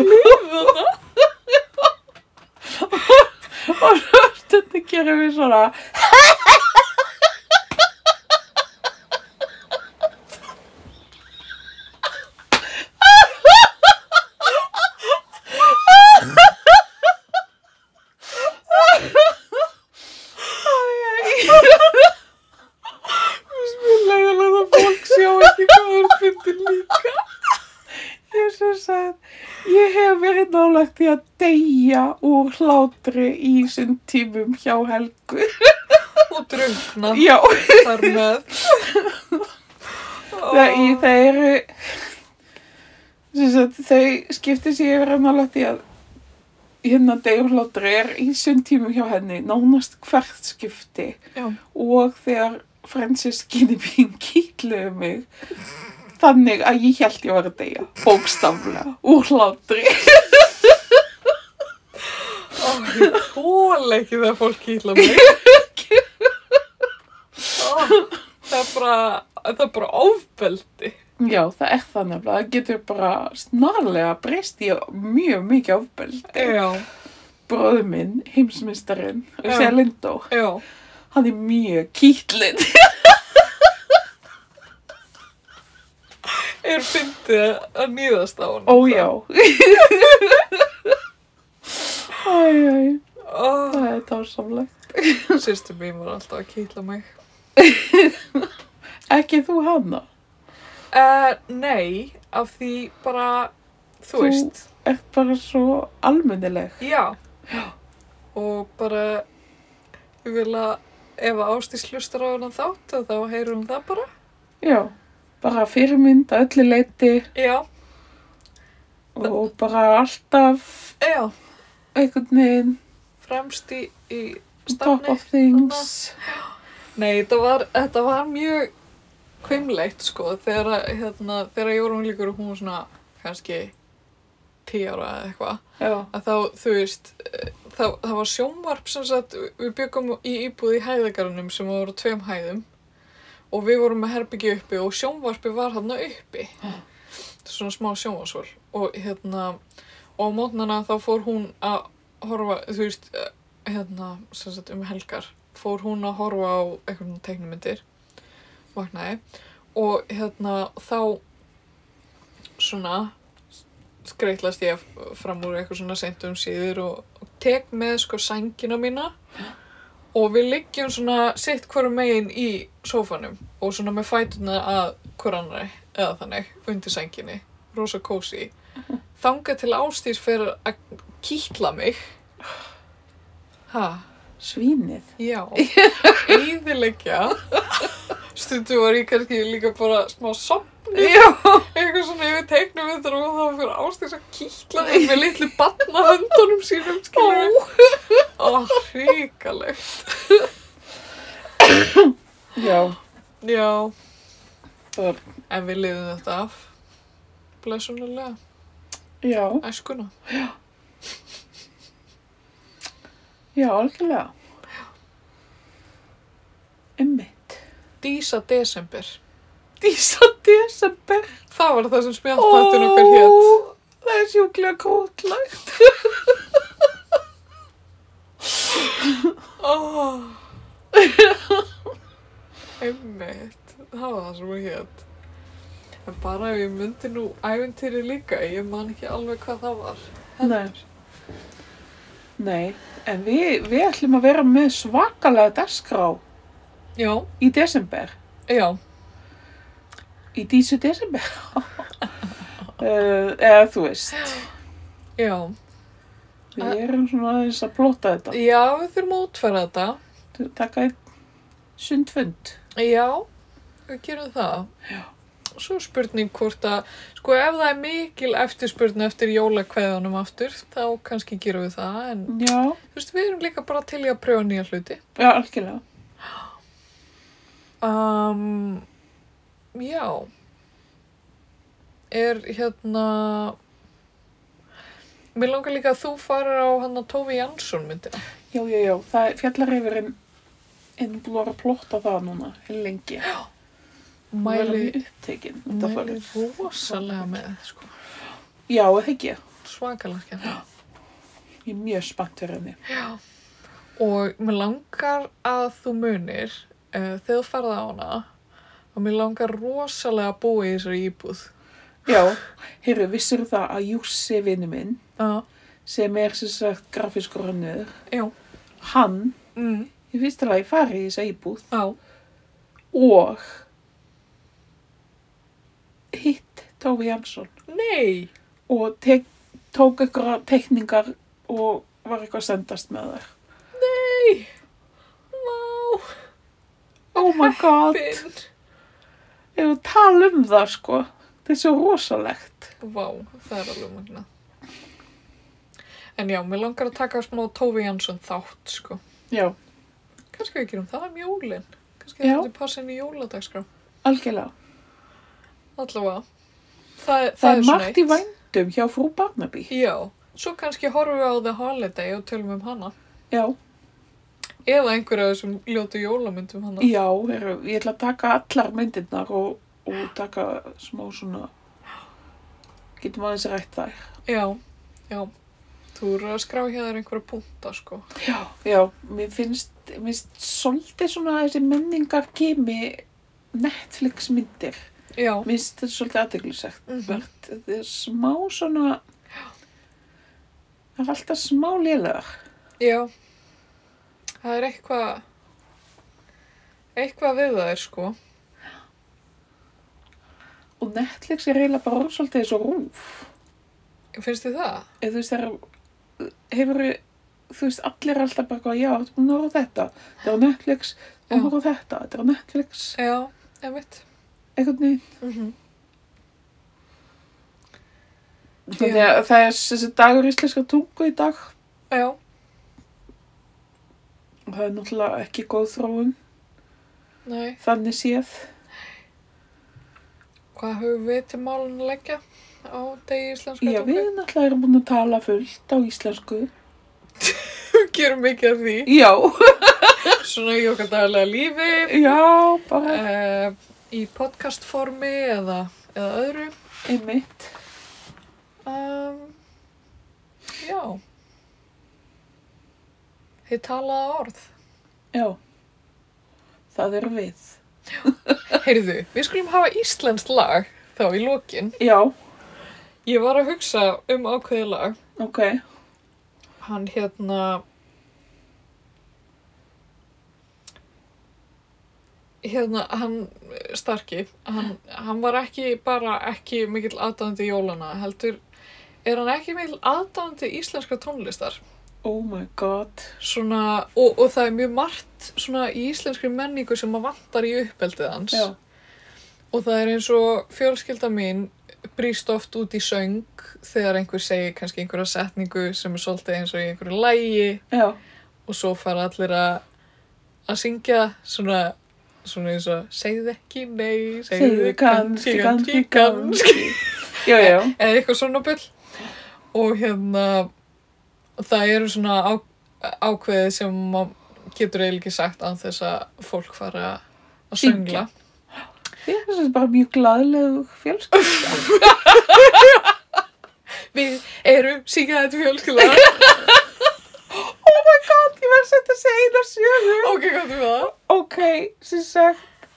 Speaker 1: Lífuna?
Speaker 2: og svo stundu gerum við svona
Speaker 1: Mér leiðilega að fólk sjá ekki hvað þú er fyndin líka.
Speaker 2: Ég sem sagt ég hef verið nálægt því að deyja úr hlátri í sinn tímum hjá Helgu.
Speaker 1: Og drungna
Speaker 2: Já,
Speaker 1: þar með.
Speaker 2: það, í, það eru, sem sagt, þau skipti sig yfir að nálægt því að hérna deyja úr hlátri er í sinn tímum hjá henni, nánast hvert skipti.
Speaker 1: Já.
Speaker 2: og þegar Francis Ginnibín kýtluði mig þannig að ég held ég var að deyja bókstaflega úr hlátri
Speaker 1: Ó, ég þóla ekki þegar fólk kýtla mig. [LAUGHS] Ó, það er bara, það er bara ofbeldi.
Speaker 2: Já, það er það nefnilega. Það getur bara snarlega breyst í mjög mikið ofbeldi.
Speaker 1: Já,
Speaker 2: Bróður minn, heimsmyndstarinn,
Speaker 1: Já.
Speaker 2: Selindó,
Speaker 1: já.
Speaker 2: hann er mjög kýtlinn.
Speaker 1: Er fyndið að nýðast á hann.
Speaker 2: Ó já. [LAUGHS] Æ, æ,
Speaker 1: Ó,
Speaker 2: það er dásamlegt.
Speaker 1: sýstu mín var alltaf að kýtla mig.
Speaker 2: Ekki þú hana?
Speaker 1: Uh, nei, af því bara, þú,
Speaker 2: Þú-
Speaker 1: veist,
Speaker 2: Er bara svo almennileg.
Speaker 1: já. Og bara, ég vil að ef að Ástís hlustar á hennan þátt þá heyrum við það bara.
Speaker 2: Já, bara fyrirmynd að öllu leiti
Speaker 1: Já,
Speaker 2: og bara alltaf
Speaker 1: já,
Speaker 2: einhvern veginn
Speaker 1: fremst í, í
Speaker 2: top
Speaker 1: stafni.
Speaker 2: of things.
Speaker 1: Nei, þetta var, þetta var mjög kvimleitt sko þegar, að, hérna, þegar ég voru unglíkur og hún var svona kannski 10 ára eða eitthvað
Speaker 2: Já,
Speaker 1: að þá, þú veist, eh, það, það var sjónvarp sem sagt, við byggum í íbúð í hæðagarunum sem voru á tveim hæðum og við vorum með herbyggi uppi og sjónvarpi var hann uppi svona smá sjónvarsvol og hérna og á mótnana þá fór hún að horfa, þú veist eh, hérna, sem sagt um helgar fór hún að horfa á einhvern teiknumyndir vaknaði og hérna þá svona skreitlast ég fram úr eitthvað svona seint um síður og, og tek með sko sængina mína og við liggjum svona sitt hverju megin í sófanum og svona með fætuna að hver annari eða þannig undir sænginni, rosa kósi þanga til ástís fyrir að kýtla mig ha,
Speaker 2: svínið.
Speaker 1: já íðilegja stundu var ég kannski líka bara smá sopp
Speaker 2: Já,
Speaker 1: eitthvað svona yfir teiknum við þar og þá fyrir Ástís að kýtla þeim með litlu barnahöndunum sínum skilur og hrikalegt
Speaker 2: já,
Speaker 1: já,
Speaker 2: það,
Speaker 1: en við liðum þetta af blessunulega,
Speaker 2: já,
Speaker 1: æskuna
Speaker 2: já, algjörlega. Emmitt.
Speaker 1: Dísa desember,
Speaker 2: Dísa desember.
Speaker 1: það var það sem spjallpættin okkar hétt
Speaker 2: Það er sjúklega krútlegt.
Speaker 1: oh. einmitt það var það sem hún hétt en bara ef ég myndi nú ævintýri líka, ég man ekki alveg hvað það var
Speaker 2: Nei. Nei, en við, við ætlum að vera með svakalega dagskrá
Speaker 1: já,
Speaker 2: í desember.
Speaker 1: já
Speaker 2: Í dísu desember. [LAUGHS] uh, eða þú veist,
Speaker 1: Já,
Speaker 2: við erum svona aðeins að plóta þetta.
Speaker 1: já, við þurfum að útfæra þetta.
Speaker 2: Takka einn sundfund.
Speaker 1: Já, við gerum það.
Speaker 2: Já.
Speaker 1: Svo er spurning hvort að, sko ef það er mikil eftirspurn eftir jólakveðanum aftur, þá kannski gerum við það, en
Speaker 2: Já,
Speaker 1: þú veist, við erum líka bara til í að pröfa nýja hluti.
Speaker 2: já, algjörlega.
Speaker 1: Um, já, er hérna, mér langar líka að þú farir á hann að Tófi Jansson myndina.
Speaker 2: Já, já, já, það er um fjallarreifurinn en búið að vera að plóta það núna lengi.
Speaker 1: Mæli,
Speaker 2: Mæli upptekinn.
Speaker 1: mæli rosalega með, sko,
Speaker 2: Já, það ekki.
Speaker 1: svakalega skemmt.
Speaker 2: Ég er mjög spennt fyrir henni.
Speaker 1: Og mér langar að þú munir, uh, þegar þú ferða á hana, og mér langar rosalega að búa í þessari íbúð.
Speaker 2: Já, heyrðu, vissir það að Jússi vinnu minn,
Speaker 1: Já,
Speaker 2: sem er sem sagt grafískur hannur,
Speaker 1: já,
Speaker 2: hann,
Speaker 1: mm,
Speaker 2: í fyrsta lagi farið í þessa íbúð
Speaker 1: já,
Speaker 2: og hitt Tófi Jansson
Speaker 1: nei,
Speaker 2: og tek, tók einhverja teikningar og var eitthvað að sendast með þær.
Speaker 1: nei, vá,
Speaker 2: Oh my god,
Speaker 1: binn,
Speaker 2: ég var að tala um það sko, það er svo rosalegt.
Speaker 1: vá, það er alveg magna. En já, mér langar að taka smá Tófi Jansson þátt, sko.
Speaker 2: Já,
Speaker 1: Kannski við gerum það um jólinn. Kannski
Speaker 2: Já.
Speaker 1: það myndi passa inn í jóladagskrá.
Speaker 2: algjörlega.
Speaker 1: Allavega. Það, það,
Speaker 2: Það,
Speaker 1: er
Speaker 2: er
Speaker 1: svona
Speaker 2: margt í
Speaker 1: eitt.
Speaker 2: vændum hjá frú Barnaby.
Speaker 1: Já, Svo kannski horfum við á The Holiday og tölum um hana.
Speaker 2: Já,
Speaker 1: Eða einhverja af þessum ljótu jólamyndum hana.
Speaker 2: já, heru, ég ætla að taka allar myndirnar og, og taka smá svona, getum aðeins rætt þær.
Speaker 1: Já, já. Þú eru að skrá hjá þér einhverja púnta, sko.
Speaker 2: Já, já, mér finnst, mér finnst svolítið svona þessi menningar kemi Netflix myndir.
Speaker 1: Já,
Speaker 2: Mér finnst þetta svolítið aðteglisegt. Mm
Speaker 1: Mhm.
Speaker 2: Það er smá svona, það er alltaf smá lélegar.
Speaker 1: já. Það er eitthvað, eitthvað við það er, sko.
Speaker 2: Og Netflix er eiginlega bara orðið svolítið eins og rúf.
Speaker 1: Finnst þið það?
Speaker 2: Eða þú veist, það er, hefur, þú veist, allir er alltaf bara, eitthvað, já, þú búin að horfa á þetta. Það er á Netflix, þú búin að
Speaker 1: Já.
Speaker 2: horfa á þetta. Það er á Netflix,
Speaker 1: Já, emitt.
Speaker 2: einhvern veginn.
Speaker 1: Mm
Speaker 2: Þannig að það er þessi dagur íslenska tungu í dag.
Speaker 1: Já,
Speaker 2: Og það er náttúrulega ekki góð þróun,
Speaker 1: nei.
Speaker 2: þannig séð.
Speaker 1: Hvað höfum við til málun að leggja á degi íslenska
Speaker 2: Já, við náttúrulega erum búin að tala fullt á íslensku.
Speaker 1: Við [LAUGHS] gerum mikið af því.
Speaker 2: Já,
Speaker 1: Svona í okkar daglega lífi.
Speaker 2: [LAUGHS] já, bara
Speaker 1: uh, í podcastformi eða, eða öðru.
Speaker 2: einmitt.
Speaker 1: Um, já. Þið talaða orð.
Speaker 2: Já, það er við.
Speaker 1: Heyrðu, við skulum hafa íslenskt lag þá í lokin.
Speaker 2: Já,
Speaker 1: Ég var að hugsa um ákveðið lag.
Speaker 2: ok,
Speaker 1: Hann hérna... Hérna, hann eh, Starki, hann, hann var ekki bara ekki mikill aðdáðandi jólana, heldur, er hann ekki mikill aðdáðandi íslenska tónlistar?
Speaker 2: oh my god.
Speaker 1: svona, og, og það er mjög margt svona í íslenskri menningu sem maður vantar í uppeldið hans
Speaker 2: Já,
Speaker 1: og það er eins og fjölskylda mín brýst oft út í söng þegar einhver segir kannski einhverja setningu sem er svolítið eins og í einhverju lægi
Speaker 2: já,
Speaker 1: og svo fara allir að að syngja svona svona eins og segðu ekki nei
Speaker 2: segðu kannski, kannski, kannski. Já, já,
Speaker 1: [LAUGHS] eða eitthvað svona bull og hérna það eru svona á, ákveðið sem maður getur eiginlega ekki sagt án þess að fólk fara að söngla
Speaker 2: Syngja. ég finnst þetta bara mjög glaðleg fjölskyld.
Speaker 1: Við erum síkjaðið fjölskylda
Speaker 2: [LAUGHS] Oh my god, ég var sett að segja það sjöfum.
Speaker 1: Ok, hvað þú það?
Speaker 2: Ok, sem sagt,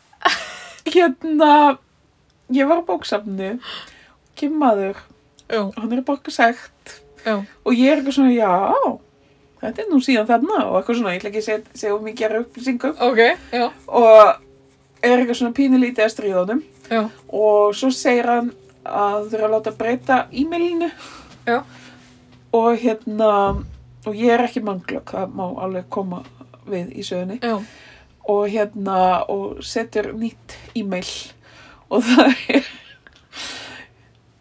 Speaker 2: hérna, ég var á bóksafnu, kemur maður,
Speaker 1: Já,
Speaker 2: hann er að borga sekt
Speaker 1: já,
Speaker 2: og ég er eitthvað svona, já, þetta er nú síðan þarna og eitthvað svona, ég ætla ekki að segja- segja of mikið að upplýsingum
Speaker 1: ok, já,
Speaker 2: og er eitthvað svona pínulítið að stríðunum
Speaker 1: já,
Speaker 2: og svo segir hann að þú þurfa að láta breyta e-mailinu
Speaker 1: Já.
Speaker 2: og hérna, og ég er ekki manglögg, það má alveg koma við í sögunni
Speaker 1: já,
Speaker 2: og hérna og setur nýtt e-mail og það er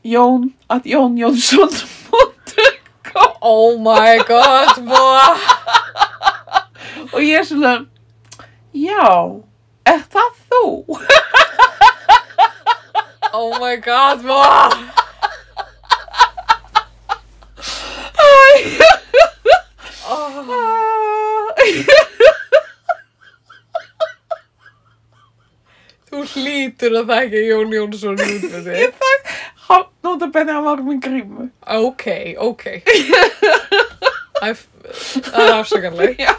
Speaker 2: jón at jón jónsson
Speaker 1: Oh my god, boah
Speaker 2: og ég er svona já, er það þú?
Speaker 1: Oh my god, boah
Speaker 2: [LAUGHS]
Speaker 1: oh, Þú hlýtur að þekka Jón Jónsson út með þig
Speaker 2: hann nota benni að var með grímu
Speaker 1: Ok, ok. Það er- það er afsakanleg.
Speaker 2: já,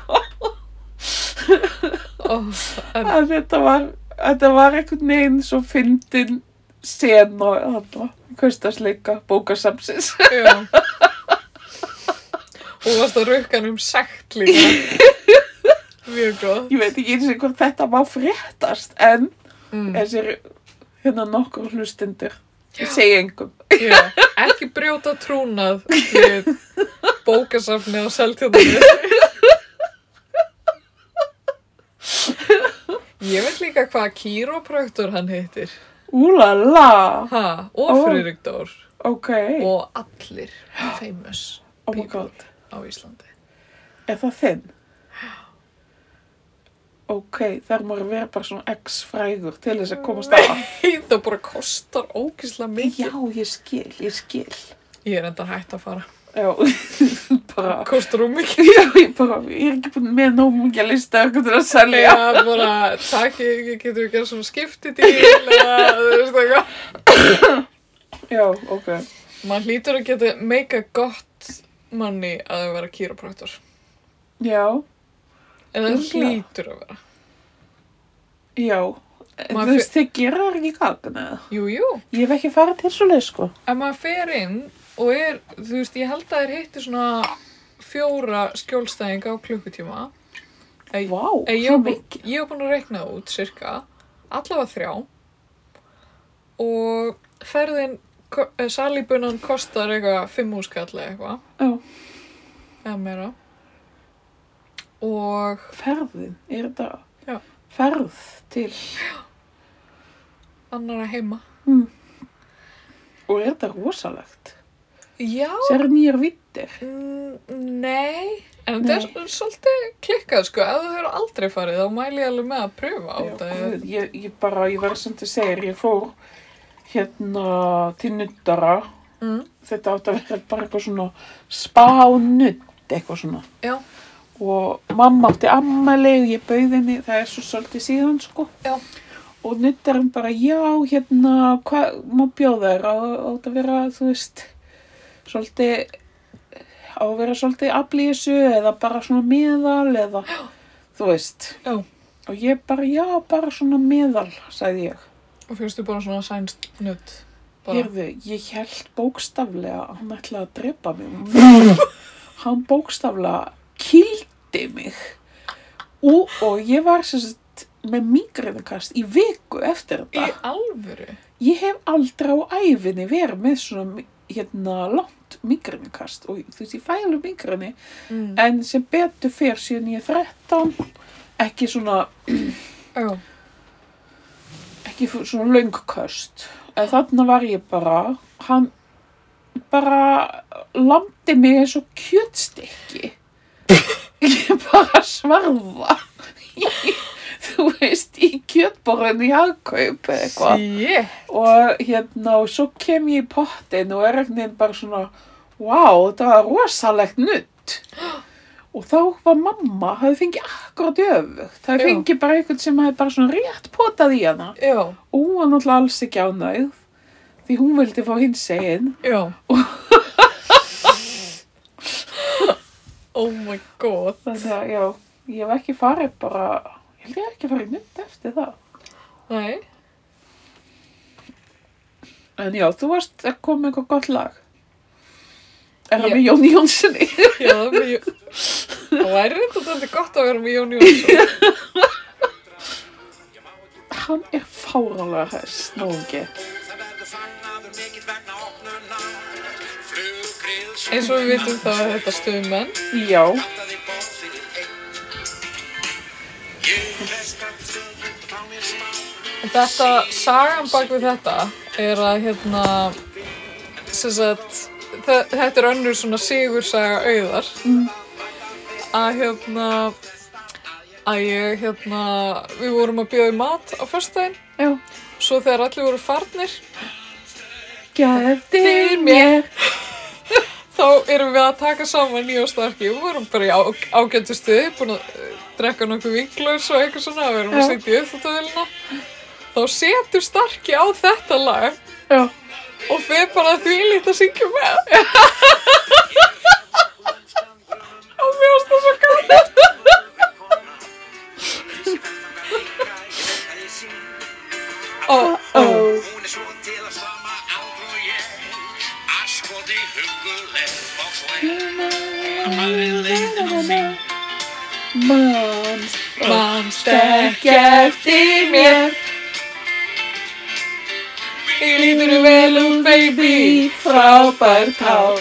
Speaker 1: Oh, en,
Speaker 2: að þetta var þetta var einhvern veginn svo fyndin sen og hann kvöstasleika bókasamsins [LAUGHS]
Speaker 1: já. Og varst að rukka hann um sekt líka. Mjög góð.
Speaker 2: ég veit ekki eins og hvort þetta má fréttast en
Speaker 1: Mm,
Speaker 2: þessir hérna nokkur hlustindur ég segi engum
Speaker 1: já. Ekki brjóta trúnað við bókasafni á seltjóðanir. Ég veit líka hvað kýrópröktur hann heitir.
Speaker 2: úlala,
Speaker 1: Ha,
Speaker 2: Ó.
Speaker 1: og Friðrik Dór.
Speaker 2: ok
Speaker 1: Og allir famous
Speaker 2: oh my
Speaker 1: people.
Speaker 2: god,
Speaker 1: á Íslandi.
Speaker 2: er það þinn? ok, þar maður að vera bara svona x-frægur til þess að komast að
Speaker 1: Nei, það bara kostar ógislega mikið.
Speaker 2: já, ég skil, ég skil
Speaker 1: Ég er enda hægt að fara.
Speaker 2: Já, [LAUGHS] bara,
Speaker 1: Kostar hún mikið.
Speaker 2: [LAUGHS] já, ég bara, ég er ekki búin með nóg mikið að lista eitthvað til að selja.
Speaker 1: Já, bara takið, getur við gerð svona skiptidíl eða þú veist eitthvað.
Speaker 2: Já, ok.
Speaker 1: Man hlýtur að geta meika gott manni að það vera kýrapraktor.
Speaker 2: Já,
Speaker 1: En það
Speaker 2: Örugglega.
Speaker 1: hlýtur að vera.
Speaker 2: já.
Speaker 1: Maður
Speaker 2: Þú veist, þeir gera það ekki gagn eða?
Speaker 1: Jú, jú.
Speaker 2: Ég hef ekki farið til svo leið, sko.
Speaker 1: Ef maður fer inn og er, þú veist, ég held að þeir hitti svona fjóra skjólstæðinga á klukkutíma. Ei,
Speaker 2: Vá,
Speaker 1: Ei, Eh, ég,
Speaker 2: svo
Speaker 1: var bú,
Speaker 2: mikið.
Speaker 1: ég var búin að reikna það út cirka allavega þrjá og ferðin ko- eh, salíbunan kostar eitthvað fimm húskall eða eitthvað
Speaker 2: Já,
Speaker 1: eða meira og
Speaker 2: ferðin, er þetta
Speaker 1: Já.
Speaker 2: ferð til,
Speaker 1: annara heima
Speaker 2: og er þetta rosalegt?
Speaker 1: já,
Speaker 2: Sér nýjar vittir.
Speaker 1: mm, nei en þetta er svolítið klikkað sko ef þú hefur aldrei farið þá mæli ég alveg með að pröfa á
Speaker 2: Já,
Speaker 1: þetta
Speaker 2: guð, ég, ég bara, ég verður sem þú segir, ég fór hérna til nuttara.
Speaker 1: Mm.
Speaker 2: Þetta átti að vera bara eitthvað svona spánutt eitthvað svona.
Speaker 1: Já.
Speaker 2: Og mamma átti ammæli og ég bauð henni, það er svo svolítið síðan sko.
Speaker 1: Já.
Speaker 2: Og nuttarinn bara, já, hérna, hvað má bjóða þér? Á, átti að vera, þú veist, svolítið, á að vera svolítið aflýsu eða bara svona miðal eða, þú veist.
Speaker 1: Já.
Speaker 2: Og ég bara, já, bara svona miðal, sagði ég.
Speaker 1: og fyrstu bara svona sænst nutt bara,
Speaker 2: Hérðu, ég held bókstaflega að hann ætlaði að drepa mig. hann bókstaflega kildi mig. Og, og ég var sem sagt með mingriðakast í viku eftir
Speaker 1: í
Speaker 2: þetta.
Speaker 1: alvöru
Speaker 2: Ég hef aldrei á æfinni verið með svona mi- hérna langt mingriðakast og þú veist, ég fæ alveg mingriðni
Speaker 1: mm.
Speaker 2: en sem betur fyrr síðan ég er 13 ekki svona
Speaker 1: já,
Speaker 2: ekki f- svona löngköst. En þarna var ég bara, hann bara landi mig eins og kjötstykki. [LAUGHS] Ég bara svarða. [LAUGHS] Þú veist, í kjötborðinu í hagkaup eða eitthvað.
Speaker 1: yeah.
Speaker 2: Og hérna, og svo kem ég í pottin og er ekkert bara svona, wow, þetta var rosalegt nutt. Og þá var mamma, hafði fengið akkurat öfugt. Það
Speaker 1: Já.
Speaker 2: fengið bara einhvern sem hafði bara svona rétt potað í hana
Speaker 1: já,
Speaker 2: og hún var náttúrulega alls ekki ánægð því hún vildi fá hins eginn
Speaker 1: já oh my god
Speaker 2: þannig að já, ég hef ekki farið bara ég held ég hafi ekki farið mynd eftir það
Speaker 1: Nei,
Speaker 2: en já, þú varst að koma með eitthvað gott lag er það
Speaker 1: Ég-
Speaker 2: með Jóni Jónssoni
Speaker 1: já, það var mjög... Það væri reynda þetta gott að vera með Jón Jónsson.
Speaker 2: hann er fárálega hess náungi
Speaker 3: Það verður fagnaður mikill vegna opnunar Flugrils
Speaker 1: Eins og við vitum þá er þetta stuðmenn.
Speaker 2: já,
Speaker 3: Vantaði bóð fyrir einn Ég feskat stundum á mér smá
Speaker 1: En þetta, sagan bak við þetta er að hérna, sem sagt, þe- þetta er önnur svona sigursaga auðar. Að hérna, að ég hérna, við vorum að bjóða í mat á föstudaginn.
Speaker 2: já
Speaker 1: Svo þegar allir voru farnir,
Speaker 2: gefðir mér
Speaker 1: þá erum við að taka saman nýjóstarki og vorum bara í á, ágættu stuði, búin að eh, drekka nokkuð vinglaus og eitthvað svona, við erum að
Speaker 2: Já.
Speaker 1: setja í uppþáttavélina. Þá setur starki á þetta lag
Speaker 2: já,
Speaker 1: og við bara því lítið að syngja með. og mér varst það svo gaman. Ó, ó.
Speaker 2: ó
Speaker 3: Hún er svo til að sama aldrei og ég Askoti huguleg og sveg
Speaker 2: manns
Speaker 1: Manst
Speaker 2: ekki
Speaker 1: ekki
Speaker 2: eftir mér
Speaker 1: lítur vel út, baby.
Speaker 2: Í frábær tál